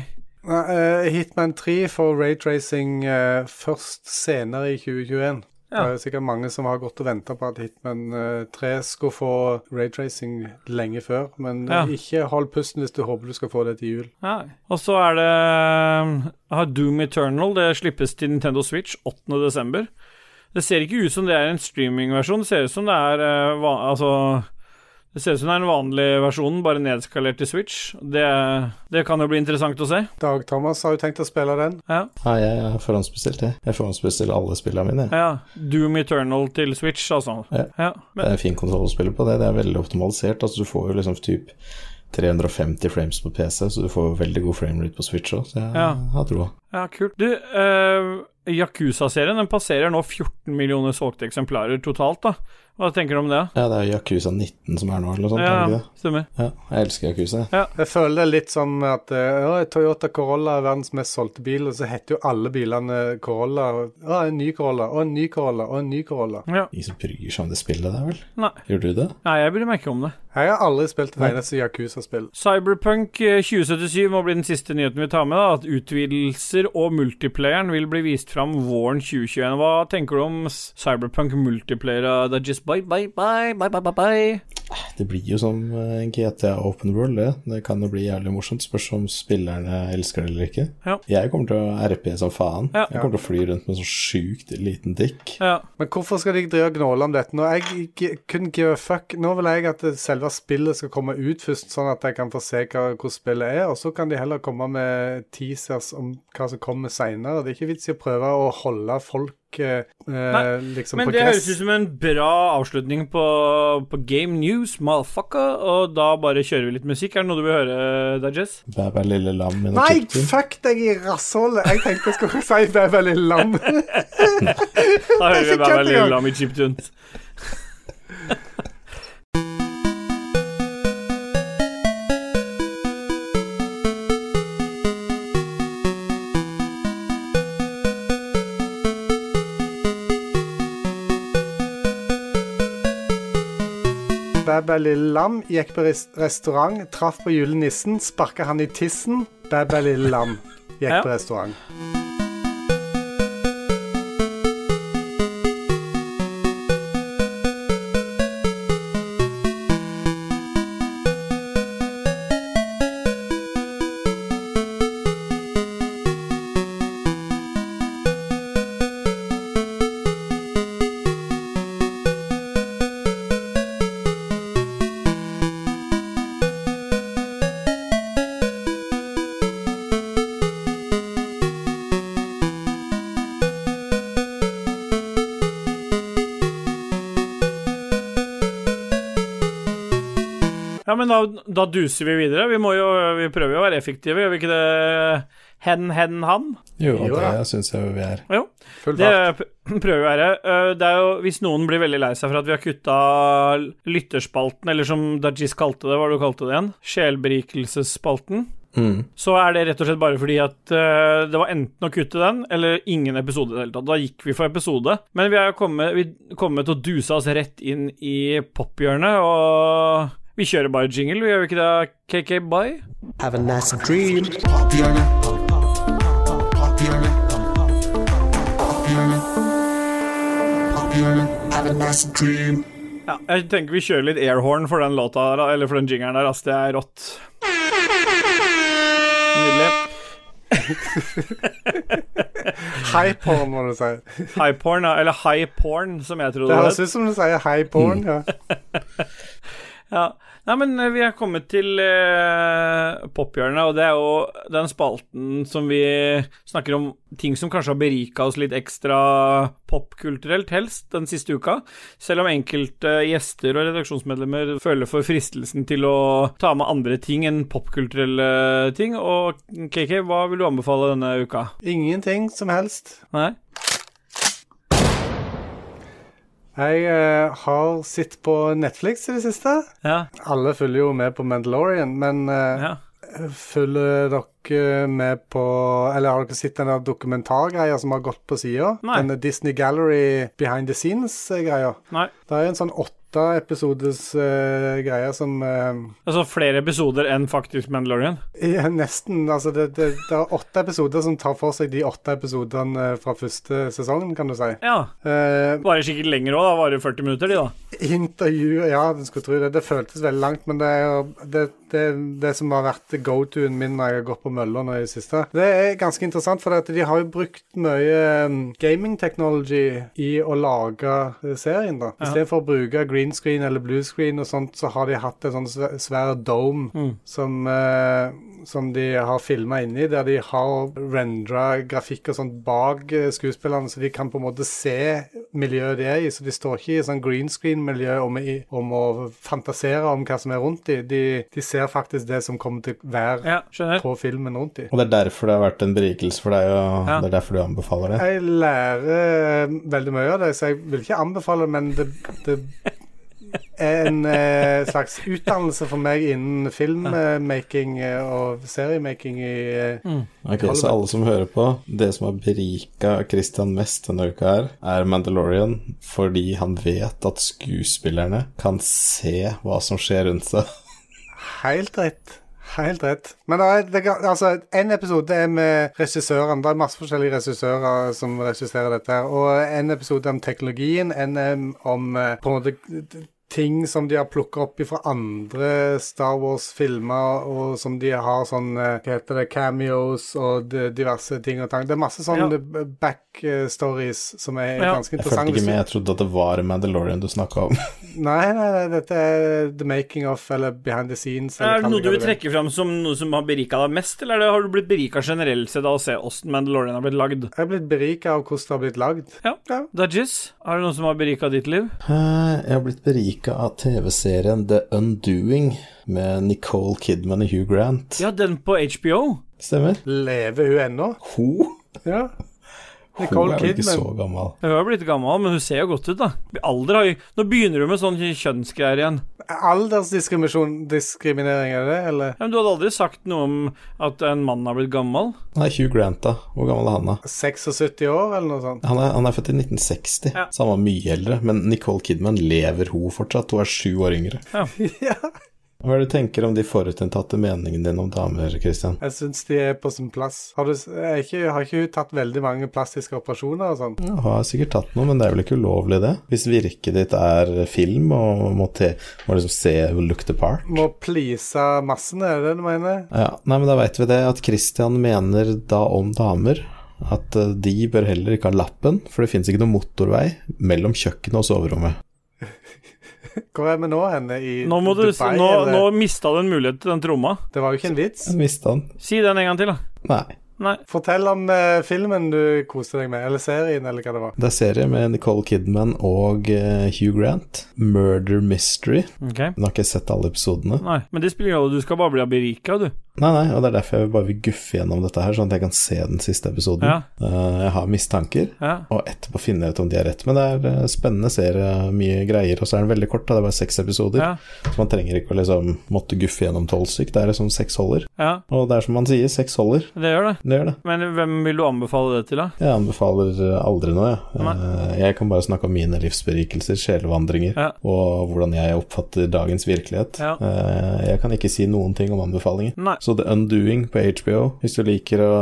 E: Nei, eh, Hitman 3 får raytracing eh, først senere i 2021.
A: Ja.
E: Det er sikkert mange som har gått og venta på at Hitman eh, 3 skulle få raytracing lenge før, men eh,
A: Ja.
E: ikke hold pusten hvis du håper du skal få det til jul.
A: Nei. Og så er det um, har Doom Eternal. Det slippes til Nintendo Switch 8.12. Det ser ikke ut som det er en streamingversjon. Det ser ut som det er eh, va Altså Det ser ut som det er en vanlig versjon, bare nedskalert til Switch. Det, det kan jo bli interessant å se.
E: Dag Thomas, har du tenkt å spille den?
A: Ja.
B: Nei, jeg er forhåndsbestilt, jeg. Jeg forhåndsbestiller alle spillene mine. jeg.
A: ja. Doom Eternal til Switch, altså.
B: Ja.
A: ja.
B: Det
A: Men,
B: er en fin kontroll å spille på det. Det er veldig optimalisert. Altså, du får jo liksom typ 350 frames på PC, så du får jo veldig god framerate på Switch òg, så jeg
A: Ja.
B: har troa.
A: ja, kult. Du, eh, Yakuza-serien den passerer nå 14 millioner solgte eksemplarer totalt, da. Hva tenker du om det?
B: Ja, det er jo Yakuza 19 som er nå, eller noe sånt. er det
A: Ja,
B: ikke det?
A: stemmer.
B: Ja, jeg elsker Yakuza. jeg.
E: Jeg føler det er litt som at eh, «Å, Toyota Corolla er verdens mest solgte bil, og så heter jo alle bilene Corolla. og, Å, en ny Corolla, og en ny Corolla, og en ny Corolla.
A: Ja.
B: Ingen som bryr seg om det spillet der, vel?
A: Nei.
B: Gjør du det?
A: Nei, jeg bryr meg ikke om det.
E: Jeg har aldri spilt et eneste Yakuza-spill.
A: Cyberpunk eh, 2077 må bli den siste nyheten vi tar med. da At utvidelser og multiplayeren vil bli vist fram våren 2021. Hva tenker du om s- Cyberpunk multiplayer? eh, Det er just bye, bye, bye, bye, bye, bye, bye.
B: Det blir jo som eh, en GTA Open World, det. Det kan jo bli jævlig morsomt. Spørs om spillerne elsker det eller ikke.
A: Ja.
B: Jeg kommer til å RP som faen.
A: Ja.
B: Jeg kommer til å fly rundt med en så sjukt liten dick.
A: Ja.
E: Men hvorfor skal de drive og gnåle om dette nå? Jeg g- couldn't give a fuck. Nå vil jeg at det selve spillet skal komme ut først, sånn at jeg kan få se hva, hvor spillet er. Og så kan de heller komme med teasers om hva som kommer seinere. Det er ikke vits i å prøve å holde folk eh, eh, liksom
A: Men
E: på
A: det høres
E: gress.
A: ut som en bra avslutning på, på Game News, motherfucker. Og da bare kjører vi litt musikk. Er det noe du vil høre, Dajess?
E: (laughs)
B: Bæ, bæ, lille lam. min og
E: Nei,
B: tuptun.
E: fuck deg i rassholdet! Jeg tenkte jeg skulle (laughs) si det er veldig lam.
A: Da hører vi
E: Jeg fikk
A: Bæ, bæ,
E: kjøtt i
A: lille
E: gang.
A: lam i chiptunes.
E: Bæbæ lille lam gikk på res- restaurant, traff på julenissen, sparka han i tissen. Bæbæ lille lam gikk
A: Ja.
E: på restaurant.
A: Ja, men da, da duser vi videre. Vi, må jo, vi prøver jo å være effektive, gjør vi ikke det? Hen, hen, han?
B: Jo,
E: Jo da.
B: det syns jeg vi er.
A: Jo.
E: Full
A: Det
E: fart.
A: p- (clears throat) prøver vi å være. Eh, Det er jo, hvis noen blir veldig lei seg for at vi har kutta lytterspalten, eller som Dajis kalte det, hva var det du kalte det igjen? Sjelberikelsesspalten.
B: Mm.
A: Så er det rett og slett bare fordi at eh, det var enten å kutte den, eller ingen episode i det hele tatt. Da gikk vi for episode. Men vi er jo kommet, vi kommet og dusa oss rett inn i pophjørnet, og vi kjører bare jingle, vi gjør vi ikke det? KK Bye?
D: Have a nice dream. Have a nice dream.
A: Ja, jeg tenker vi kjører litt airhorn for den låta der, eller for den jingeren der, ass. Det er rått. Nydelig.
E: High porn, må du si.
A: High porn, ja, eller high porn, som jeg
E: Det
A: trodde
E: høres
A: det het.
E: ut som du sier high porn. Ja.
A: Ja. Nei, men eh, vi er kommet til eh, pophjørnet, og det er jo den spalten som vi snakker om ting som kanskje har berika oss litt ekstra popkulturelt, helst, den siste uka. Selv om enkelte gjester og redaksjonsmedlemmer føler for fristelsen til å ta med andre ting enn popkulturelle ting. Og KK, hva vil du anbefale denne uka?
E: Ingenting som helst.
A: Nei?
E: Jeg eh, har sett på Netflix i det siste.
A: Ja?
E: Alle følger jo med på Mandalorian, men eh,
A: Ja?
E: følger dere med på Eller har dere sett den der dokumentargreia som har gått på sida?
A: Nei.
E: Denne Disney Gallery Behind the Scenes-greia.
A: Nei?
E: Det er en sånn åtte episodes eh, greie som eh,
A: Altså flere episoder enn faktisk Mandalorian?
E: er nesten Altså, det, det, det er åtte episoder som tar for seg de åtte episodene eh, fra første sesongen, kan du si.
A: Ja.
E: Eh,
A: Varer sikkert lenger òg, da. Varer 40 minutter, de, da.
E: Intervju Ja, du skulle tro det. Det føltes veldig langt, men det er jo det, det, det som har vært go-to-en min når jeg har gått på mølla nå i det siste. Det er ganske interessant, for at de har jo brukt mye mm, gaming technology i å lage eh, serien, da. I stedet for å bruke green screen eller blue screen og sånt, så har de hatt en sånn sve- svær dome som, eh, som de har filma inni, der de har rendra grafikk og sånt bak eh, skuespillerne, så de kan på en måte se miljøet de er i. Så de står ikke i sånn green screen-miljø om, i- om å fantasere om hva som er rundt dem. De, de ser faktisk det som kommer til å være
A: Ja, skjønner.
E: på filmen rundt dem.
B: Og det er derfor det har vært en berikelse for deg, og
A: Ja.
B: det er derfor du anbefaler det.
E: Jeg lærer eh, veldig mye av det, så jeg vil ikke anbefale det, men det, det er en eh, slags utdannelse for meg innen filmmaking eh, og seriemaking i eh,
B: Ok, Så alle som hører på, det som har berika Christian mest denne uka her, er Mandalorian fordi han vet at skuespillerne kan se hva som skjer rundt seg.
E: Helt rett. Helt rett. Men det er, det, er- altså, en episode er med regissøren. Det er masse forskjellige regissører som regisserer dette. her, Og en episode om teknologien, en em, om eh, på en måte d- d- ting som de har plukka opp fra andre Star Wars-filmer, og som de har sånn eh, Hva heter det? Cameos og d- diverse ting og tang. Det er masse sånne backstories som er
A: Ja.
E: ganske
B: Jeg fulgte
E: interessante.
B: ikke med, jeg trodde at det var Mandalorian du snakka (laughs) om.
E: Nei, nei, nei, dette er the making of, eller behind the scenes. eller
A: Er
E: kall
A: det noe du
E: hva
A: vil
E: vil.
A: trekke fram som noe som har berika deg mest, eller er det- har du blitt berika generelt sett av å se åssen Mandalorian har blitt lagd?
E: Jeg er blitt berika av hvordan det har blitt lagd.
A: Ja. Dudges, har du noe som har berika ditt liv?
B: Eh, Jeg har blitt berika av TV-serien The Undoing med Nicole Kidman og Hugh Grant.
A: Ja, den på HBO.
B: Stemmer?
E: Lever hun ennå?
B: Ho?
E: Ja.
B: Hun
E: Nicole
B: er jo ikke så
E: Kidman.
B: gammel.
A: Hun har blitt gammel, men hun ser jo godt ut, da. Alder har jo Nå begynner hun med sånne kjønnsgreier igjen.
E: Aldersdiskriminering, diskriminering, er det? Eller
A: Ja, men du hadde aldri sagt noe om at en mann har blitt gammel?
B: Nei, Hugh Grant, da. Hvor gammel er han, da?
E: 76 år, eller noe sånt?
B: Han er, han er født i 1960,
A: Ja.
B: så han var mye eldre. Men Nicole Kidman lever hun fortsatt, hun er sju år yngre.
E: (laughs) Ja.
B: Hva er det du tenker om de forutinntatte meningene dine om damer, Christian?
E: Jeg syns de er på sin plass. Har, du, s- er ikke, har ikke hun tatt veldig mange plastiske operasjoner og sånn?
B: Ja, Hun har sikkert tatt noe, men det er vel ikke ulovlig, det? Hvis virket ditt er film, og må, te, må liksom se who look the part?
E: Må please massene, er det det du mener?
B: Ja, nei, men da veit vi det, at Christian mener da om damer at eh, de bør heller ikke ha lappen, for det fins ikke noen motorvei mellom kjøkkenet og soverommet.
E: Hvor er vi nå henne? I
A: Nå, må du,
E: Dubai?
A: nå,
E: eller?
A: nå mista du en mulighet til den tromma.
E: Det var jo ikke en vits.
B: Jeg mista han.
A: Si den en gang til, da.
B: Nei.
A: Nei.
E: Fortell om eh, filmen du koste deg med, eller serien, eller hva det var.
B: Det er serie med Nicole Kidman og eh, Hugh Grant. Murder Mystery.
A: Ok.
B: Hun har ikke sett alle episodene.
A: Nei, men det spiller ingen rolle. Du skal bare bli berika, du.
B: Nei, nei, og det er derfor jeg bare vil guffe gjennom dette her, sånn at jeg kan se den siste episoden.
A: Ja.
B: Eh, jeg har mistanker,
A: Ja.
B: og etterpå finner jeg ut om de har rett. Men det er eh, spennende serie, mye greier, og så er den veldig kort, da. Det er bare seks episoder.
A: Ja.
B: Så man trenger ikke å liksom måtte guffe gjennom tolv stykk. Det er liksom seks holder.
A: Ja,
B: Og det er som man sier, seks holder.
A: det gjør det.
B: Det gjør det.
A: Men hvem vil du anbefale det til, da?
B: Jeg anbefaler eh, aldri noe, jeg.
A: Nei.
B: Eh, Jeg kan bare snakke om mine livsberikelser, sjelevandringer,
A: Ja.
B: og hvordan jeg oppfatter dagens virkelighet.
A: Ja.
B: Eh, Jeg kan ikke si noen ting om anbefalinger.
A: Nei.
B: Så The Undoing på HBO, hvis du liker å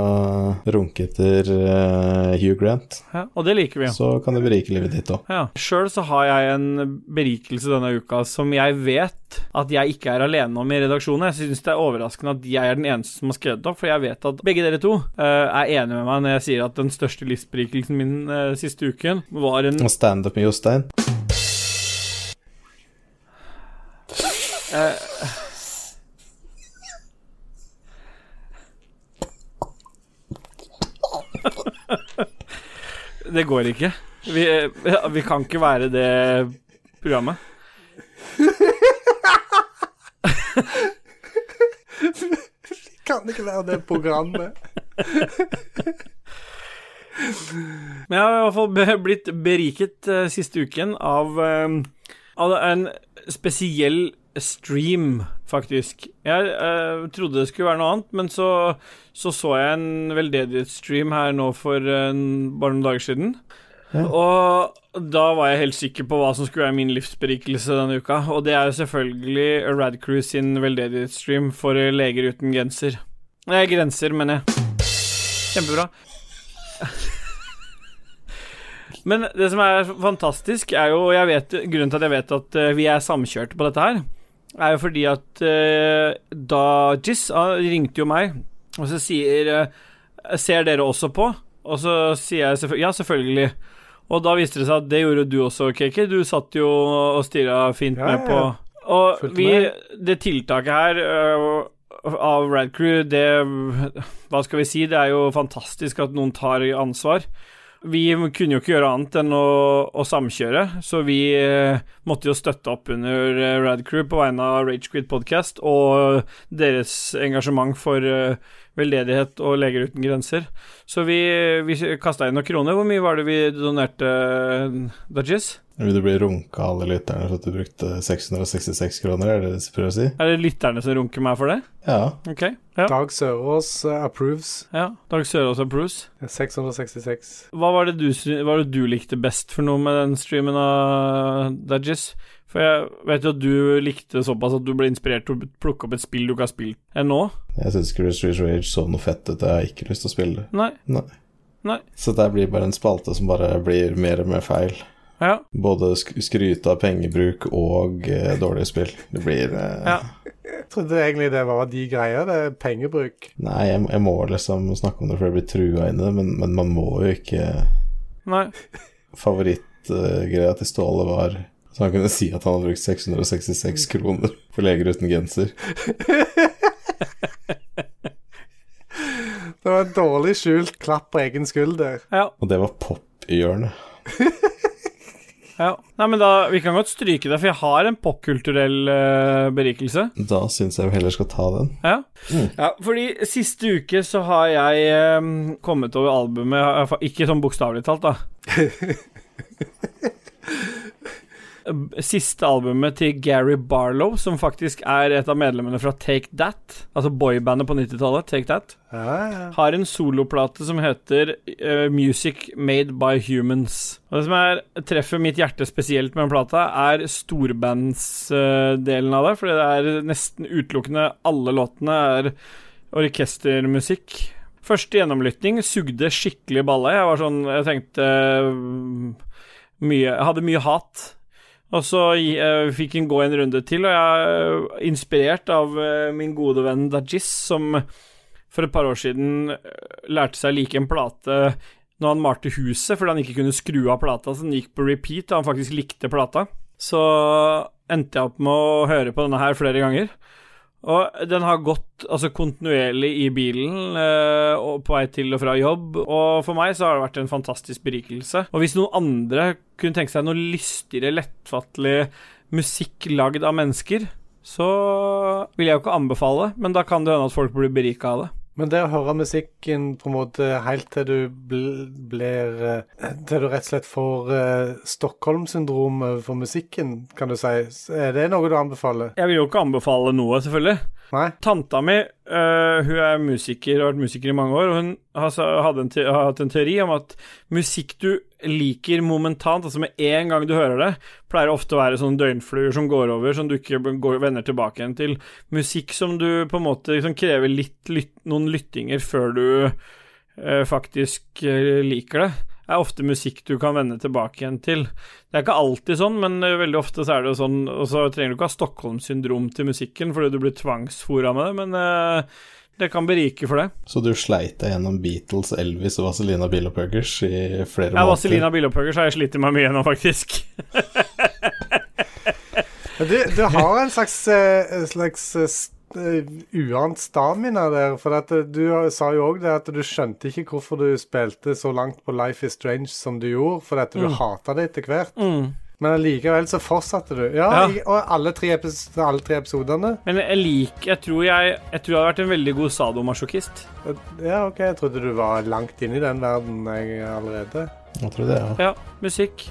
B: runke etter eh, Hugh Grant,
A: Ja, og det liker vi jo.
B: så kan det berike livet ditt òg.
A: Ja. Sjøl så har jeg en berikelse denne uka som jeg vet at jeg ikke er alene om i redaksjonen. Jeg syns det er overraskende at jeg er den eneste som har skrevet det opp, for jeg vet at begge dere to eh, er enige med meg når jeg sier at den største livsberikelsen min eh, siste uken var en
B: Og standup med Jostein.
A: Det går ikke. Vi, eh, ja, vi kan ikke være det programmet.
E: Kan det ikke være det programmet?
A: Men jeg har i hvert fall be- blitt beriket eh, siste uken av, eh, av en spesiell stream, faktisk. Jeg eh, trodde det skulle være noe annet, men så så, så jeg en veldedighetsstream her nå for en- bare noen dager siden. Og da var jeg helt sikker på hva som skulle være min livsberikelse denne uka, og det er jo selvfølgelig Radcrew sin veldedighetsstream for Leger uten grenser. Nei, grenser, mener jeg. Kjempebra. Men det som er fantastisk, er jo og jeg vet, Grunnen til at jeg vet at eh, vi er samkjørte på dette her, er jo fordi at eh, da Jizz han ringte jo meg, og så sier eh, Ser dere også på? Og så sier jeg selvfø- ja, selvfølgelig. Og da viste det seg at det gjorde du også, Kiki. Du satt jo og stirra fint
E: Ja,
A: med
E: ja,
A: på
E: ja.
A: Og
E: Fulgte
A: vi,
E: med.
A: det tiltaket her øh, av Radcrew, det Hva skal vi si? Det er jo fantastisk at noen tar ansvar. Vi kunne jo ikke gjøre annet enn å, å samkjøre, så vi eh, måtte jo støtte opp under eh, Radcrew på vegne av Ragequit Podcast og deres engasjement for eh, veldedighet og Leger uten grenser. Så vi, vi kasta inn noen kroner. Hvor mye var det vi donerte, øh, Dodges?
B: Vil du bli runka av alle lytterne for at du brukte 666 kroner, er det det du prøver å si?
A: Er det lytterne som runker meg for det?
B: Ja.
A: Ok. Ja.
E: Dag Sørås eh, approves.
A: ja. Dag Sørås og Bruce.
E: 666.
A: Hva var det du, sy- hva var det du likte best for noe med den streamen av Dudges? For jeg vet jo at du likte såpass at du ble inspirert til å plukke opp et spill du ikke har spilt ennå.
B: Jeg syns Cruise Rage så noe fett ut, jeg har ikke lyst til å spille det.
A: Nei.
B: Nei.
A: Nei.
B: Så det blir bare en spalte som bare blir mer og mer feil.
A: Ja.
B: Både sk skryte av pengebruk og eh, dårlige spill. Det blir eh,
A: Ja.
E: Jeg trodde egentlig det var de greier, det er pengebruk.
B: Nei, jeg, jeg må liksom snakke om det før jeg blir trua inn i det, men, men man må jo ikke
A: Nei.
B: Favorittgreia til Ståle var så han kunne si at han hadde brukt 666
A: Mm.
B: kroner for leger uten genser.
E: Det var en dårlig skjult klapp på egen skulder.
A: Ja.
B: Og det var pop-hjørnet.
A: ja. Nei, men da Vi kan godt stryke det, for jeg har en popkulturell eh, berikelse.
B: Da syns jeg vi heller skal ta den.
A: Ja. ja, fordi siste uke så har jeg eh, kommet over albumet i hvert fall Ikke sånn bokstavelig talt, da. Siste albumet til Gary Barlow, som faktisk er et av medlemmene fra Take That, altså boybandet på 90-tallet, Take That,
E: Ja, ja.
A: har en soloplate som heter eh, Music Made by Humans. Og det som er treffer mitt hjerte spesielt med den plata, er storbandsdelen av det, fordi det er nesten utelukkende alle låtene er orkestermusikk. Første gjennomlytting sugde skikkelig balle. Jeg var sånn Jeg tenkte mm, mye Jeg hadde mye hat. Og så eh, fikk en gå en runde til, og jeg er inspirert av eh, min gode venn Dajis, som for et par år siden eh, lærte seg å like en plate når han malte huset, fordi han ikke kunne skru av plata, så den gikk på repeat, og han faktisk likte plata. Så endte jeg opp med å høre på denne her flere ganger. Og den har gått altså, kontinuerlig i bilen eh, og på vei til og fra jobb, og for meg så har det vært en fantastisk berikelse. Og hvis noen andre kunne tenke seg noe lystigere, lettfattelig musikk lagd av mennesker, så vil jeg jo ikke anbefale, men da kan det hende at folk blir berika av det.
E: Men det å høre musikken på en måte helt til du bl blir eh, Til du rett og slett får eh, Stockholm-syndrom for musikken, kan du si. Er det noe du anbefaler?
A: Jeg vil jo ikke anbefale noe, selvfølgelig.
E: Nei?
A: Tanta mi øh, hun er musiker og har vært musiker i mange år, og hun har, sa- hadde en te har hatt en teori om at musikk du liker momentant, altså med en gang du hører det, pleier ofte å være sånne døgnfluer som går over, som du ikke b- går, vender tilbake igjen til. Musikk som du på en måte liksom krever litt, lytt, noen lyttinger før du øh, faktisk øh, liker det, er ofte musikk du kan vende tilbake igjen til. Det er ikke alltid sånn, men eh, veldig ofte så er det jo sånn, og så trenger du ikke ha Stockholm-syndrom til musikken fordi du blir tvangsfora med det, men eh, det kan berike for det.
B: Så du sleit deg gjennom Beatles, Elvis og Vazelina Billopuggers i
A: Jeg
B: flere
A: er
B: måneder?
A: Vazelina Billopphuggers, har jeg slitt meg mye nå, faktisk. (laughs)
E: Men Du, du har en slags, eh, slags eh, s- eh, uant stamina der. For at eh, du har- sa jo òg det at du skjønte ikke hvorfor du spilte så langt på Life is Strange som du gjorde, fordi at du
A: Mm.
E: hata det etter hvert. Men allikevel så fortsatte du. Ja,
A: Ja.
E: I, og alle tre, epis alle tre episodene.
A: Men jeg liker Jeg tror jeg, jeg tror jeg hadde vært en veldig god sadomasochist.
E: Ja, OK, jeg trodde du var langt inne i den verden jeg allerede.
B: Jeg tror det, ja.
A: Ja, musikk.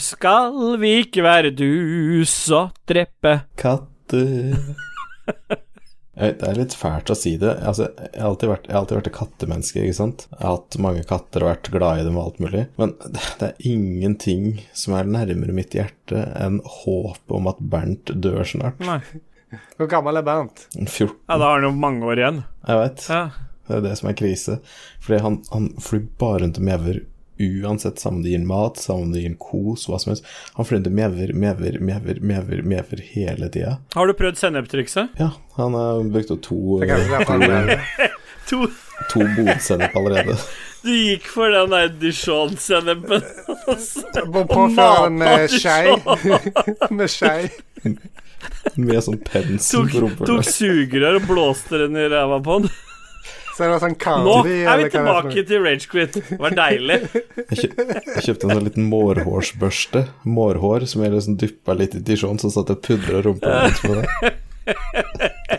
A: Skal vi ikke være dus og drepe
B: Katter Jeg vet, Det er litt fælt å si det. Altså, jeg, har alltid vært, jeg har alltid vært et kattemenneske. ikke sant? Jeg har hatt mange katter og vært glad i dem og alt mulig. Men det, det er ingenting som er nærmere mitt hjerte enn håpet om at Bernt dør snart.
A: Nei.
E: Hvor gammel er Bernt?
B: 14,
A: Ja, da har han jo mange år igjen.
B: jeg veit.
A: Ja.
B: Det er det som er krise. Fordi han, han flyr bare rundt og mjauer uansett, samme om det gir mat, samme om det gir kos, hva som helst. Han flyr rundt og mjauer, mjauer, mjauer, mjauer, mjauer hele tida.
A: Har du prøvd senneptrikset?
B: Ja, han har brukt opp to
E: Det er kanskje derfor han er det.
A: To
B: to botsennep allerede.
A: Du gikk for den der Dijon-sennepen.
E: Må påføre den med skei. eh, (laughs) med skei.
B: Med sånn pensel
A: Tok,
B: på
A: tok
B: rumpehullet.
A: sugerør og blåste den i ræva på den.
E: Så er det sånn candy
A: Nå er vi
E: eller hva det er for noe.
A: tilbake til ragequit. Det var deilig.
B: Jeg, kjøp, jeg kjøpte en sånn liten mårhårsbørste. Mårhår som jeg liksom dyppa litt i Dijon, så satt jeg og pudra rumpa litt på det.
A: (laughs)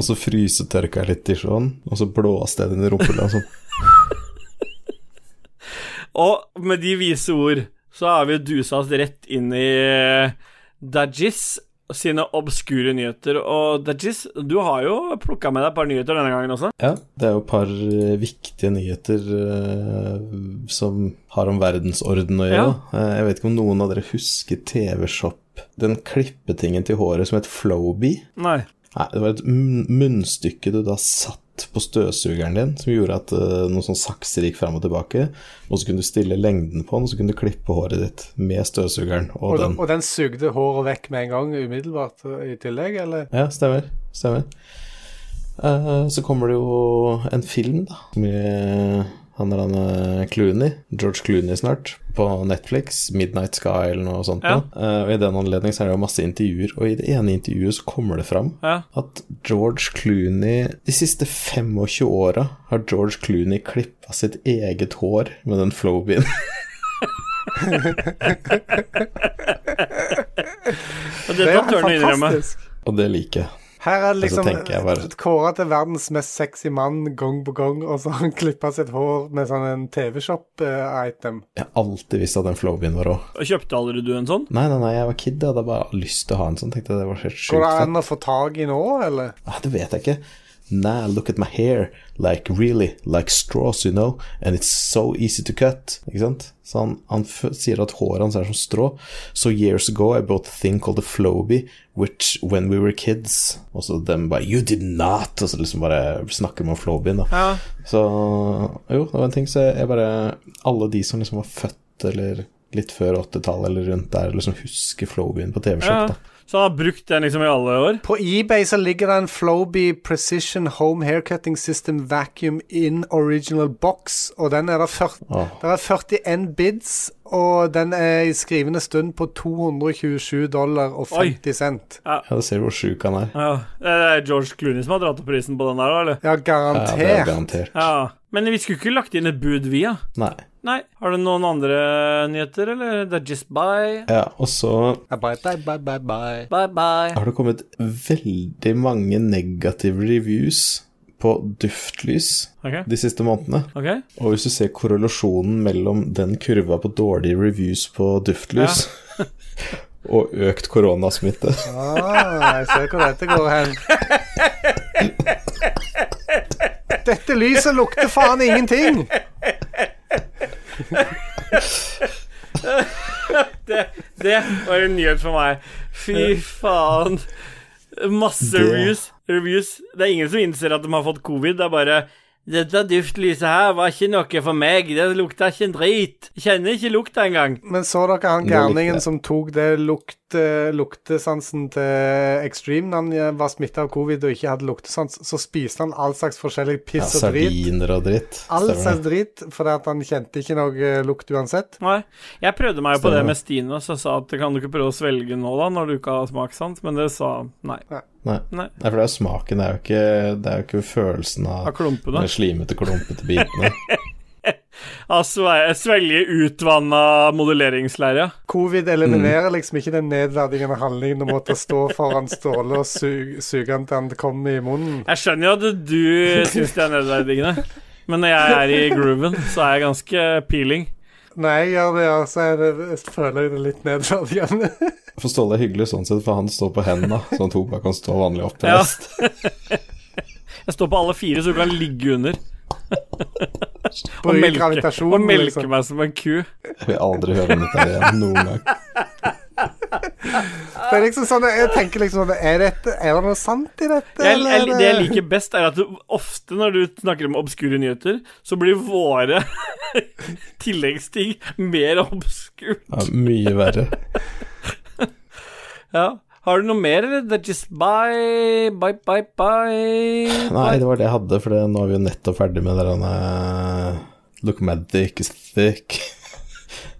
B: Og så frysetørka jeg litt Dijon, og så blåste jeg den i rumpehullet. og Sånn.
A: Og med de vise ord så har vi dusa oss rett inn i eh, Dajis sine obskure nyheter. Og Dajis, du har jo plukka med deg et par nyheter denne gangen også.
B: Ja, det er jo et par eh, viktige nyheter eh, som har om verdensorden å gjøre. da. Eh, jeg vet ikke om noen av dere husker TV-Shop, den klippetingen til håret som het Flowbee.
A: Nei.
B: Nei, det var et mun- munnstykke du da satt på støvsugeren din, som gjorde at eh, noen sånn sakser gikk fram og tilbake. Og så kunne du stille lengden på den, og så kunne du klippe håret ditt med støvsugeren og,
E: Og, den-
B: den.
E: og den sugde håret vekk med en gang umiddelbart eh, i tillegg, eller?
B: Ja, stemmer. Stemmer. Eh, så kommer det jo en film, da, med han der han eh, Clooney, George Clooney snart, på Netflix. 'Midnight Sky' eller noe sånt.
A: Ja.
B: da. Eh, og I den anledning så er det jo masse intervjuer, og i det ene intervjuet så kommer det fram
A: Ja.
B: at George Clooney De siste 25 åra har George Clooney klippa sitt eget hår med den flowbien. (laughs)
A: Og dette
E: jo
A: tør han innrømme.
B: og det liker jeg.
E: Her er det
B: Altså,
E: liksom
B: tenker jeg bare-
E: kåra til verdens mest sexy mann gang på gang, og så har han klippa sitt hår med sånn en TV-shop-item.
B: Jeg har alltid visst at den flowbien var rå.
A: Kjøpte allerede du en sånn?
B: Nei, nei, nei, jeg var kid, jeg hadde bare lyst til å ha en sånn. Tenkte jeg det var helt
E: Går
B: sjukt
E: det
B: fett.
E: an å få tak i nå, eller?
B: Ah, det vet jeg ikke. Nah, look at my hair. Like really, like straws, you know. And it's so easy to cut. Ikke sant? Så han, han f sier at håret hans er som strå. So years ago I bought a thing called a Floby, which when we were kids Og så dem bare You did not! Og så liksom bare snakker man om Flobyen, da. Så jo, det var en ting. Så jeg bare Alle de som liksom var født eller litt før 80-tallet eller rundt der, liksom husker Flobyen på TV-Shop, da.
A: Så han har brukt den liksom i alle år.
E: På eBay så ligger det en Floby Precision Home Haircutting System Vacuum in Original Box, og den er det, 40,
B: Åh.
E: der er 41 bids, og den er i skrivende stund på 227 dollar og
A: Oi.
E: 50 cent.
B: Ja, da ser du hvor sjuk han er.
A: Ja, det er George Clooney som har dratt opp prisen på den der, da, eller?
E: Ja,
B: Ja, det er
E: garantert.
B: garantert.
A: Ja. Men vi skulle ikke lagt inn et bud, vi, da.
B: Nei.
A: Nei. Har du noen andre nyheter, eller? Det er just bye.
B: Ja, og så
E: Ja, bare bye, bye, bye, bye.
A: Bye, bye.
B: har det kommet veldig mange negative reviews på duftlys
A: Ok.
B: de siste månedene.
A: Ok?
B: Og hvis du ser korrelasjonen mellom den kurva på dårlige reviews på duftlys og økt koronasmitte
E: Ah, jeg ser hvor dette går
B: (laughs)
E: hen. Dette lyset lukter faen ingenting.
A: Det var en nyhet for meg. Fy faen. Masse
B: Det-
A: reviews. reviews. Det er ingen som innser at de har fått covid. Det er bare dette duftlyset her var ikke noe for meg. Det lukta ikke en drit. Kjenner ikke lukta engang.
E: Men så dere han
B: likte
E: gærningen
B: jeg.
E: som tok det lukt, eh, luktesansen til Extreme da han eh, var smitta av covid og ikke hadde luktesans? Så spiste han all slags forskjellig
B: ja,
E: piss og drit.
B: (laughs) Sardiner og dritt.
E: All
B: Stemmer
E: slags
B: det?
E: drit, fordi at han kjente ikke noe eh, lukt uansett.
A: Nei. Jeg prøvde meg jo på
B: Stemmer
A: det
B: det.
A: med Stine, så jeg sa at kan du ikke prøve å svelge nå, da, når du ikke har smakssans? Men det sa nei.
B: Nei.
A: Nei.
B: Nei, for det er jo smaken, det er jo ikke, det er jo ikke følelsen av
A: Av klumpene.
B: de slimete, klumpete (laughs) bitene.
A: Av sve- svelge utvanna moduleringsleire.
E: Covid eliminerer
B: Mm.
E: liksom ikke den nedverdigende handlingen om å måtte stå foran Ståle og su- suge han til han kom i munnen.
A: Jeg skjønner jo at du syns det er nedverdigende, men når jeg er i grooven, så er jeg ganske peeling.
E: Når jeg gjør det, ja, så er det, føler jeg det litt nedverdigende.
B: For Ståle er hyggelig sånn sett, for han står på hendene, sånn at hun bare kan stå vanlig
A: Ja. (laughs)
B: oppreist.
A: Jeg står på alle fire, så du kan ligge under (laughs) og
E: Bruker
A: melke,
E: gravitasjonen,
A: og melke
E: liksom.
A: meg som en ku.
B: Jeg vil aldri høre om dette her igjen noen gang.
E: Det er liksom sånn, jeg tenker liksom sånn, Er, dette, er det noe sant i dette?
A: Jeg, jeg,
E: eller er
A: det jeg liker best, er at du, ofte når du snakker om obskure nyheter, så blir våre (laughs) tilleggsting mer obskure.
B: Ja, mye verre.
A: Ja. Har du noe mer, eller? Det er just bye, bye, bye, bye.
B: (laughs) Nei, det var det jeg hadde, for det, nå er vi jo nettopp ferdig med den eh, Look at my dick is thick.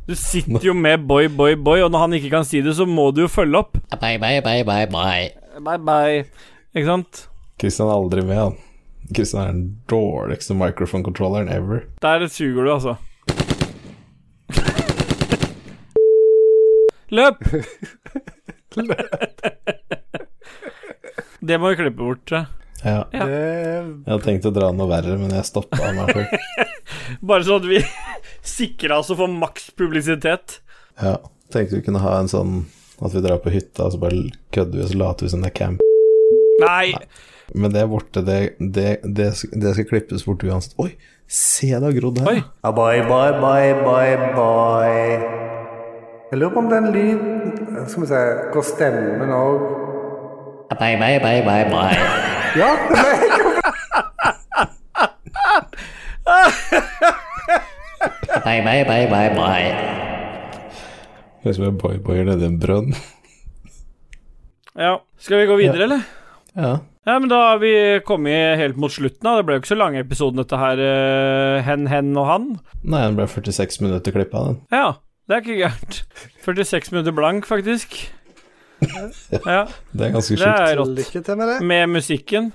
A: Du sitter jo med boy, boy, boy, og når han ikke kan si det, så må du jo følge opp.
H: Bye bye bye bye bye.
A: Bye, bye. Ikke sant?
B: (laughs) Christian er aldri med, han. Christian er den dårligste microphone-controlleren ever.
A: Der suger du, altså. Løp! Det må vi klippe bort. tror jeg.
B: Ja.
A: Ja.
B: Jeg hadde tenkt å dra noe verre, men jeg stoppa meg (laughs) for
A: Bare sånn at vi (laughs) sikrer oss å få maks publisitet.
B: Ja. Tenkte vi kunne ha en sånn at vi drar på hytta, og så bare kødder vi og så later vi som det er camp.
A: Nei!
B: Men det er borte, det, det, det, det skal klippes bort uansett. Oi, se det har grodd her.
A: Oi.
E: Bye, bye, bye, bye, bye. Jeg lurer på om den lyden Skal vi se Går stemmen òg
H: Bye bye bye bye bye.
E: Ja, det
A: (laughs)
E: ble
H: Bye bye bye bye bye.
B: Høres ut som en boyboyer nedi en brønn.
A: Ja. Skal vi gå videre, eller?
B: Ja.
A: Ja, men da har vi kommet helt mot slutten. Da. Det ble jo ikke så lang episode, dette her. eh, hen, hen og han.
B: Nei, den ble 46 minutter klippa, den.
A: Ja, det er ikke gærent. 46 minutter blank, faktisk. Ja,
B: Det er ganske
A: det
B: sjukt.
A: er rått.
E: Lykke til med det.
A: Med musikken.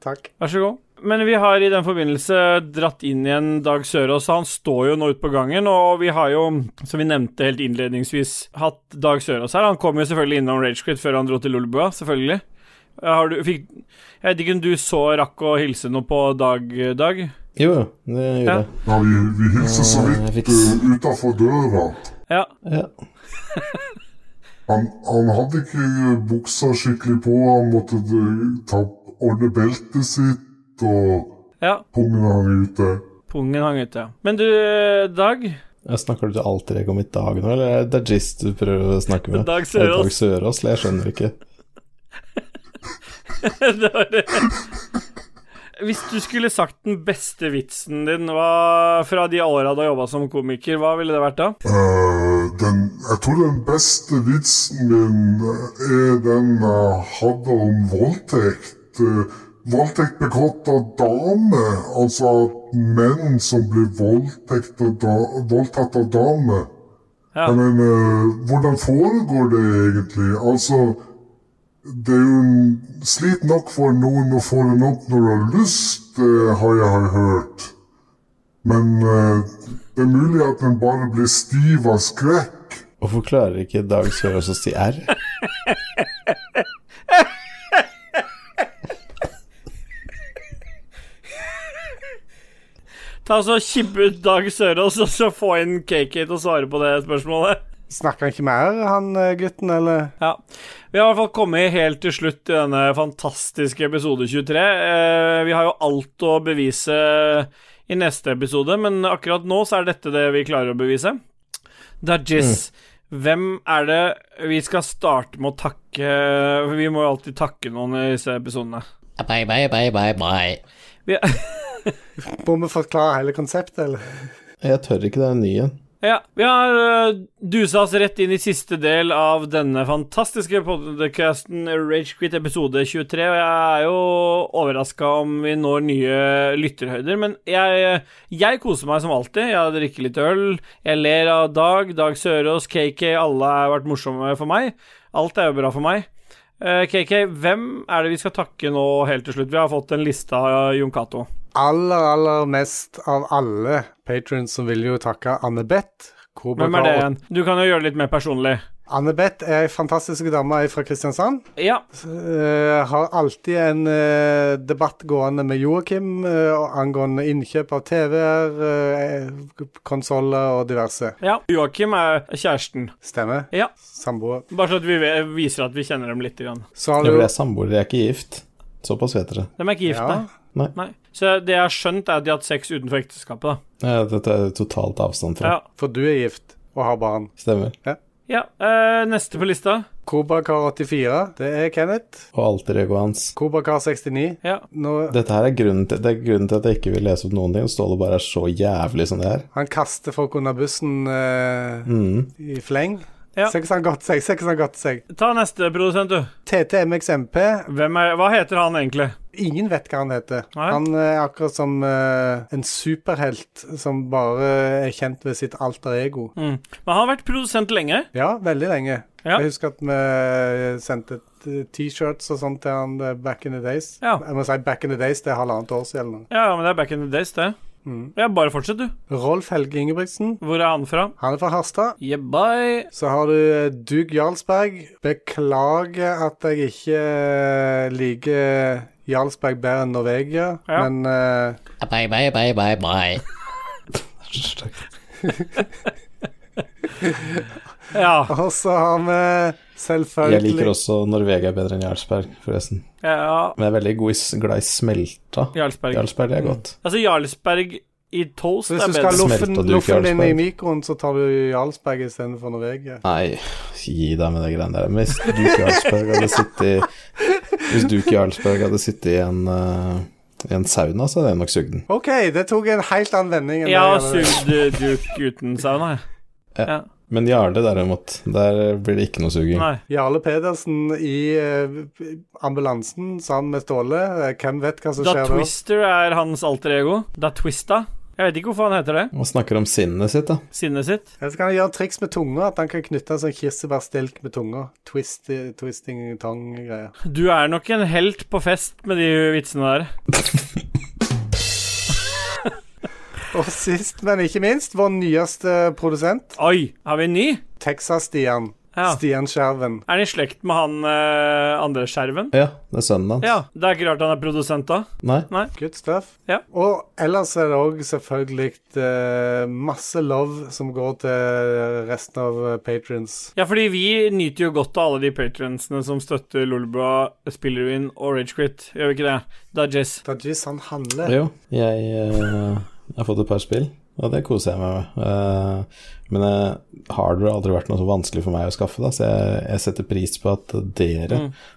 E: Takk.
A: Vær så god. Men vi har i den forbindelse dratt inn igjen Dag Sørås. Han står jo nå ute på gangen, og vi har jo, som vi nevnte helt innledningsvis, hatt Dag Sørås her. Han kom jo selvfølgelig innom Ragequit før han dro til Lolbua, selvfølgelig. Har du, fikk, jeg vet ikke om du så rakk å hilse noe på Dag, Dag?
B: Jo, jo, det
A: Ja.
B: gjorde jeg.
I: Ja, vi, vi hilser så
B: jeg
I: vidt
B: fikk s-
I: eh, utenfor døra.
A: Ja.
B: Ja.
I: Han, han hadde ikke eh, buksa skikkelig på, han måtte eh, ta, ordne beltet sitt. litt, og
A: Ja,
I: pungen hang ute.
A: pungen hang ute. Men du, Dag,
G: Jeg snakker du til alter egoet mitt Dag nå, eller er det Dajis du prøver å snakke med?
A: Dag
G: Er det
A: Sørås.
G: Dag Sørås, eller jeg skjønner ikke.
A: (laughs) det var det. Hvis du skulle sagt den beste vitsen din hva, fra de åra du har jobba som komiker, hva ville det vært da?
I: Eh, den, jeg tror den beste vitsen min eh, er den jeg hadde om voldtekt. Eh, voldtekt begått av damer, altså at menn som blir voldtekt av da, voldtatt av damer.
A: Ja.
I: Jeg mener, hvordan foregår det egentlig? Altså, det er jo en- slit nok for noen å få den opp når de har lyst, det har jeg hørt. Men eh, det er mulig at den bare blir stiv av skrekk.
G: Hvorfor klarer ikke Dag Sørås å si R?
A: Ta så Kibbe ut Dag Sørås, og så få inn KK til å svare på det spørsmålet.
E: Snakker han ikke mer, han eh, gutten, eller?
A: Ja. Vi har i hvert fall kommet helt til slutt i denne fantastiske episode 23. Eh, vi har jo alt å bevise i neste episode, men akkurat nå så er dette det vi klarer å bevise. Dajis, hvem er det vi skal starte med å takke For vi må jo alltid takke noen i disse episodene.
H: Bye bye bye bye bye.
A: Vi,
E: Må vi forklare hele konseptet, eller?
G: Jeg tør ikke, det er en ny en.
A: Ja, vi har eh, dusa oss rett inn i siste del av denne fantastiske podcasten Ragequit episode 23, og jeg er jo overraska om vi når nye lytterhøyder, men jeg, jeg koser meg som alltid. Jeg drikker litt øl, jeg ler av Dag, Dag Sørås, KK, alle har vært morsomme for meg. Alt er jo bra for meg. Eh, KK, hvem er det vi skal takke nå helt til slutt? Vi har fått en liste av Jon Cato.
E: Aller, aller mest av alle patrons som vil jo takke Anne-Beth.
A: Hvem er det igjen? Du kan jo gjøre det litt mer personlig.
E: Anne-Beth er ei fantastisk dame fra Kristiansand.
A: Ja,
E: Eh, har alltid en eh, debatt gående med Joakim eh, og angående innkjøp av TV-er, uh, konsoller og diverse.
A: ja. Joakim er kjæresten.
E: Stemmer?
A: Ja.
E: Samboer.
A: Bare så at vi ve- viser at vi kjenner dem litt. Grann.
E: Så har
G: Jeg
E: du
G: ble samboer, jeg er ikke gift. Såpass vet dere.
A: De er ikke gifte.
E: Ja.
G: Nei.
A: Så det jeg har skjønt, er at de har hatt sex utenfor ekteskapet. da.
G: Eh, Dette er totalt avstand fra.
A: Ja.
E: For du er gift og har barn.
G: Stemmer.
A: ja. eh, neste på lista.
E: Kobakar84, det er Kenneth.
G: Og alter egoet hans.
E: Kobakar69.
A: Ja.
E: Nå,
G: Dette her er grunnen til, det er grunnen til at jeg ikke vil lese opp noen ting. Ståle bare er så jævlig som det er.
E: han kaster folk under bussen eh,
G: Mm.
E: i fleng.
A: Ja.
E: Se hvordan han godt seg, se hvordan han godt seg.
A: Ta neste produsent, du.
E: TTMXMP,
A: Hvem er, hva heter han egentlig?
E: ingen vet hva han heter.
A: Nei.
E: Han er akkurat som eh, en superhelt som bare er kjent ved sitt alter ego.
A: Mm. Men han har vært produsent lenge.
E: Ja, veldig lenge.
A: Ja.
E: Jeg husker at vi eh, sendte t- T-shirts og sånt til han eh, back in the days.
A: Ja.
E: Jeg må si back in the days, det er halvannet år siden. eller noe.
A: Ja, men det er back in the days, det.
E: Mm.
A: Ja, bare fortsett, du.
E: Rolf Helge Ingebrigtsen,
A: Hvor er han fra?
E: han er fra Harstad.
A: Yeah, bye.
E: Så har du eh, Dug Jarlsberg. Beklager at jeg ikke eh, liker Jarlsberg bedre enn Norvegia,
A: Ja.
E: men eh,
H: Bye bye bye bye bye.
A: Ja,
E: Og så har vi
G: Jeg
E: selvfølgelig
G: liker også Norvegia bedre enn Jarlsberg, forresten.
A: ja.
G: Men jeg er veldig god i, s- glad i smelta.
A: Jarlsberg.
G: Jarlsberg det er godt.
A: Altså, Jarlsberg i toast
E: Hvis
A: er
E: du skal ha
A: bedre.
G: lo-
E: loffen,
G: Smelter duk
E: loffen din i
G: Jarlsberg.
E: mikroen, så tar du Jarlsberg istedenfor Norvegia.
G: Nei, gi deg med de greiene der. Men Hvis Duke Jarlsberg hadde sittet Hvis Duke Jarlsberg hadde sittet i en, eh, i en sauna, så hadde jeg nok sugd den.
E: OK, det tok en helt annen vending. enn
A: Jeg har
E: det jeg hadde-
A: sugd Duke uten sauna, jeg. Ja.
G: Men Jarle, derimot, der blir det ikke noe suging.
A: Nei.
E: Jarle Pedersen i eh, ambulansen sammen med Ståle. Eh, Hvem vet hva som
A: Da
E: skjer da?
A: Twister er hans alter ego. Da Twista. Jeg vet ikke hvorfor han heter det.
G: Man snakker om sinnet sitt, da.
A: Sinnet sitt.
E: Eller så kan han gjøre triks med tunga, at han kan knytte en sånn kirsebærstilk med tunga. Twist, eh,
A: (laughs)
E: twisting tong-greier.
A: Du er nok en helt på fest med de vitsene der.
E: Og sist, men ikke minst, vår nyeste produsent,
A: Oi, har vi en ny?
E: Texas-Stian.
A: Ja.
E: Stian Skjerven.
A: Er han i slekt med han eh, andre skjerven?
G: Ja, det er sønnen hans.
A: Ja, det er ikke rart han er produsent da.
G: Nei?
E: Good stuff.
A: Ja.
E: Og ellers er det òg selvfølgelig eh, masse love som går til resten av eh, patrons.
A: Ja, fordi vi nyter jo godt av alle de patronsene som støtter Lolbua, Spilleruin og Ragequit. Gjør vi ikke det? Dudges.
E: Dajis, han handler.
G: Jo, jeg eh, har fått et par spill, og det koser jeg meg med. Eh, men eh, hardware har aldri vært noe så vanskelig for meg å skaffe, da, så jeg, jeg setter pris på at dere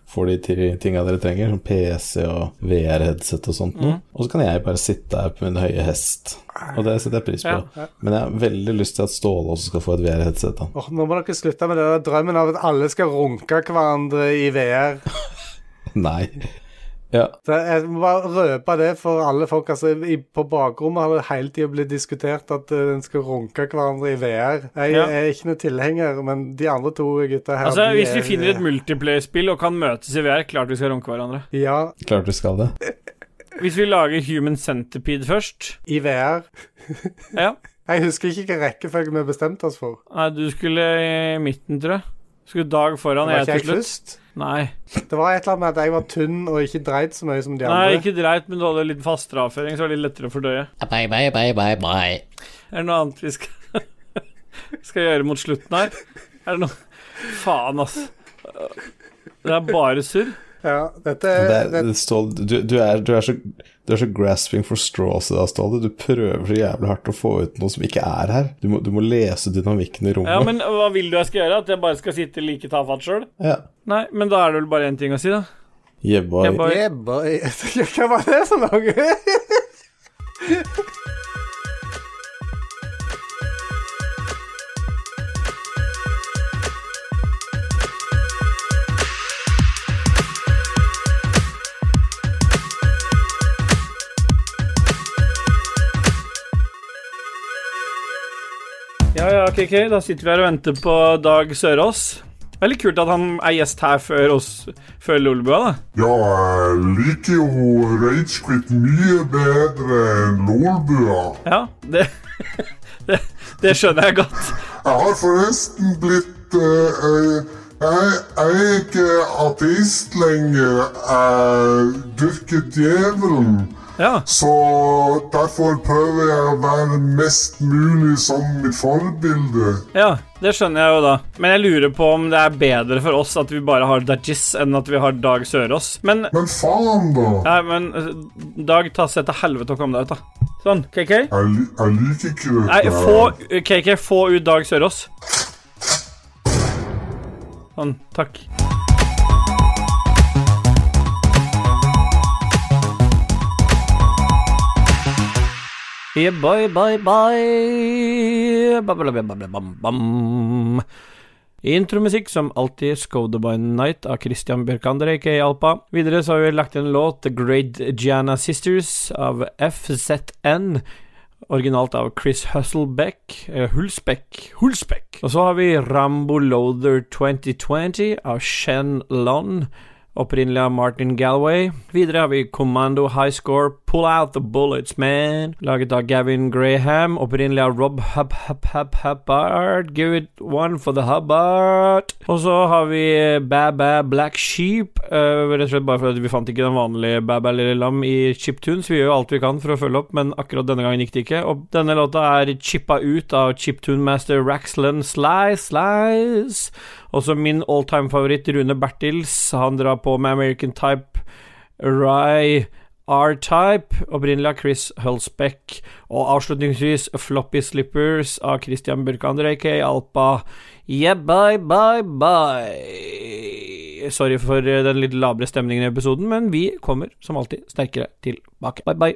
G: får de ti- tinga dere trenger, som PC og VR-headset og sånt noe. Og så kan jeg bare sitte her på min høye hest, og det setter jeg pris på. Men jeg har veldig lyst til at Ståle også skal få et VR-headset. da.
E: Åh, nå må dere slutte med det der drømmen av at alle skal runke hverandre i VR.
G: Nei. Ja,
E: Det, jeg må bare røpe det for alle folk. Altså, i, på bakrommet har det hele tida blitt diskutert at eh, en skal runke hverandre i VR. Jeg
A: Ja.
E: er ikke noen tilhenger, men de andre to gutta her
A: Altså,
E: de
A: hvis vi
E: er-
A: finner et multiplayer-spill og kan møtes i VR, klart vi skal runke hverandre.
E: Ja,
G: klart vi skal det.
A: Hvis vi lager Human Centipede først
E: i VR.
A: Ja.
E: Jeg husker ikke hvilken rekkefølge vi bestemte oss for.
A: Nei, du skulle i midten, tror jeg. Skulle Dag foran,
E: Var
A: jeg
E: ikke jeg
A: til slutt.
E: først?
A: Nei.
E: Det var et eller annet med at jeg var tynn og ikke dreit så mye som de
A: Nei,
E: andre.
A: ikke dreit, men du hadde litt fastere avføring, så det var litt lettere å fordøye.
H: bye bye bye bye bye.
A: Er det noe annet vi skal, (laughs) skal gjøre mot slutten her? Er det noe Faen, ass. Det er bare surr.
E: Ja, dette
G: Men
E: er,
G: Det er,
E: det,
G: det, Ståle, du, du, er, du, er så, du er så grasping for straws i dag, Ståle. Du prøver så jævlig hardt å få ut noe som ikke er her. Du må, du må lese dynamikken i rommet.
A: Ja, men hva vil du jeg skal gjøre? At jeg bare skal sitte like tafatt sjøl?
G: Ja.
A: Nei, men da er det vel bare én ting å si, da.
G: Yeah, boy.
A: Jeg bare-
E: Yeah, boy. (laughs) Hva var det for noe?
A: Ja, ja, ok, ok, da sitter vi her og venter på Dag Sørås. Det er litt kult at han er gjest her før oss, før Lolbua, da.
I: Ja, jeg liker jo Ragequit mye bedre enn Lolbua.
A: Ja, det, (laughs) det, det skjønner jeg godt.
I: Jeg har forresten blitt eh, eh, jeg, jeg er ikke ateist lenger. Jeg dyrker djevelen.
A: Ja,
I: Så derfor prøver jeg å være mest mulig som mitt forbilde.
A: ja, det skjønner jeg jo da. Men jeg lurer på om det er bedre for oss at vi bare har Dajis enn at vi har Dag Sørås. Men,
I: Men faen, da!
A: nei, men eh, Dag, ta se til helvete og kom deg ut, da. Sånn, KK.
I: Jeg, li- jeg liker ikke dette.
A: Nei,
I: her.
A: få, KK, få ut Dag Sørås. Sånn, takk. Yeah, bye, bye, bye. Bam, bam, bam, bam, bam, bam. Intromusikk som alltid Skoda by Night av Christian Bjørkander, aka Alpa. Videre så har vi lagt inn en låt The Great Gianna Sisters av FZN. Originalt av Chris Husselbeck eh, Hulsbeck Hulsbeck. Og så har vi Rambo Loader 2020 av Shen Lon. Opprinnelig av Martin Galway. Videre har vi Commando High Score, Pull Out The Bullets Man. Laget av Gavin Graham. Opprinnelig av Rob Hub Hub Hub Hubbard. Give it one for the Hubbard. Og så har vi Baba Black Sheep. eh, rett og slett bare fordi vi fant ikke den vanlige Baba Lille Lam i Chiptunes. Vi gjør jo alt vi kan for å følge opp, men akkurat denne gangen gikk det ikke. Og denne låta er chippa ut av chiptune-master Raxlan Slice Slice. Også min alltime-favoritt Rune Bertils. Han drar på med American Type, Rye R-Type, opprinnelig av Chris Hulsbeck. Og avslutningsvis Floppy Slippers av Christian Burkander, aka Alpa. Yeah, bye, bye, bye. Sorry for eh, den litt labre stemningen i episoden, men vi kommer som alltid sterkere tilbake. Bye, bye.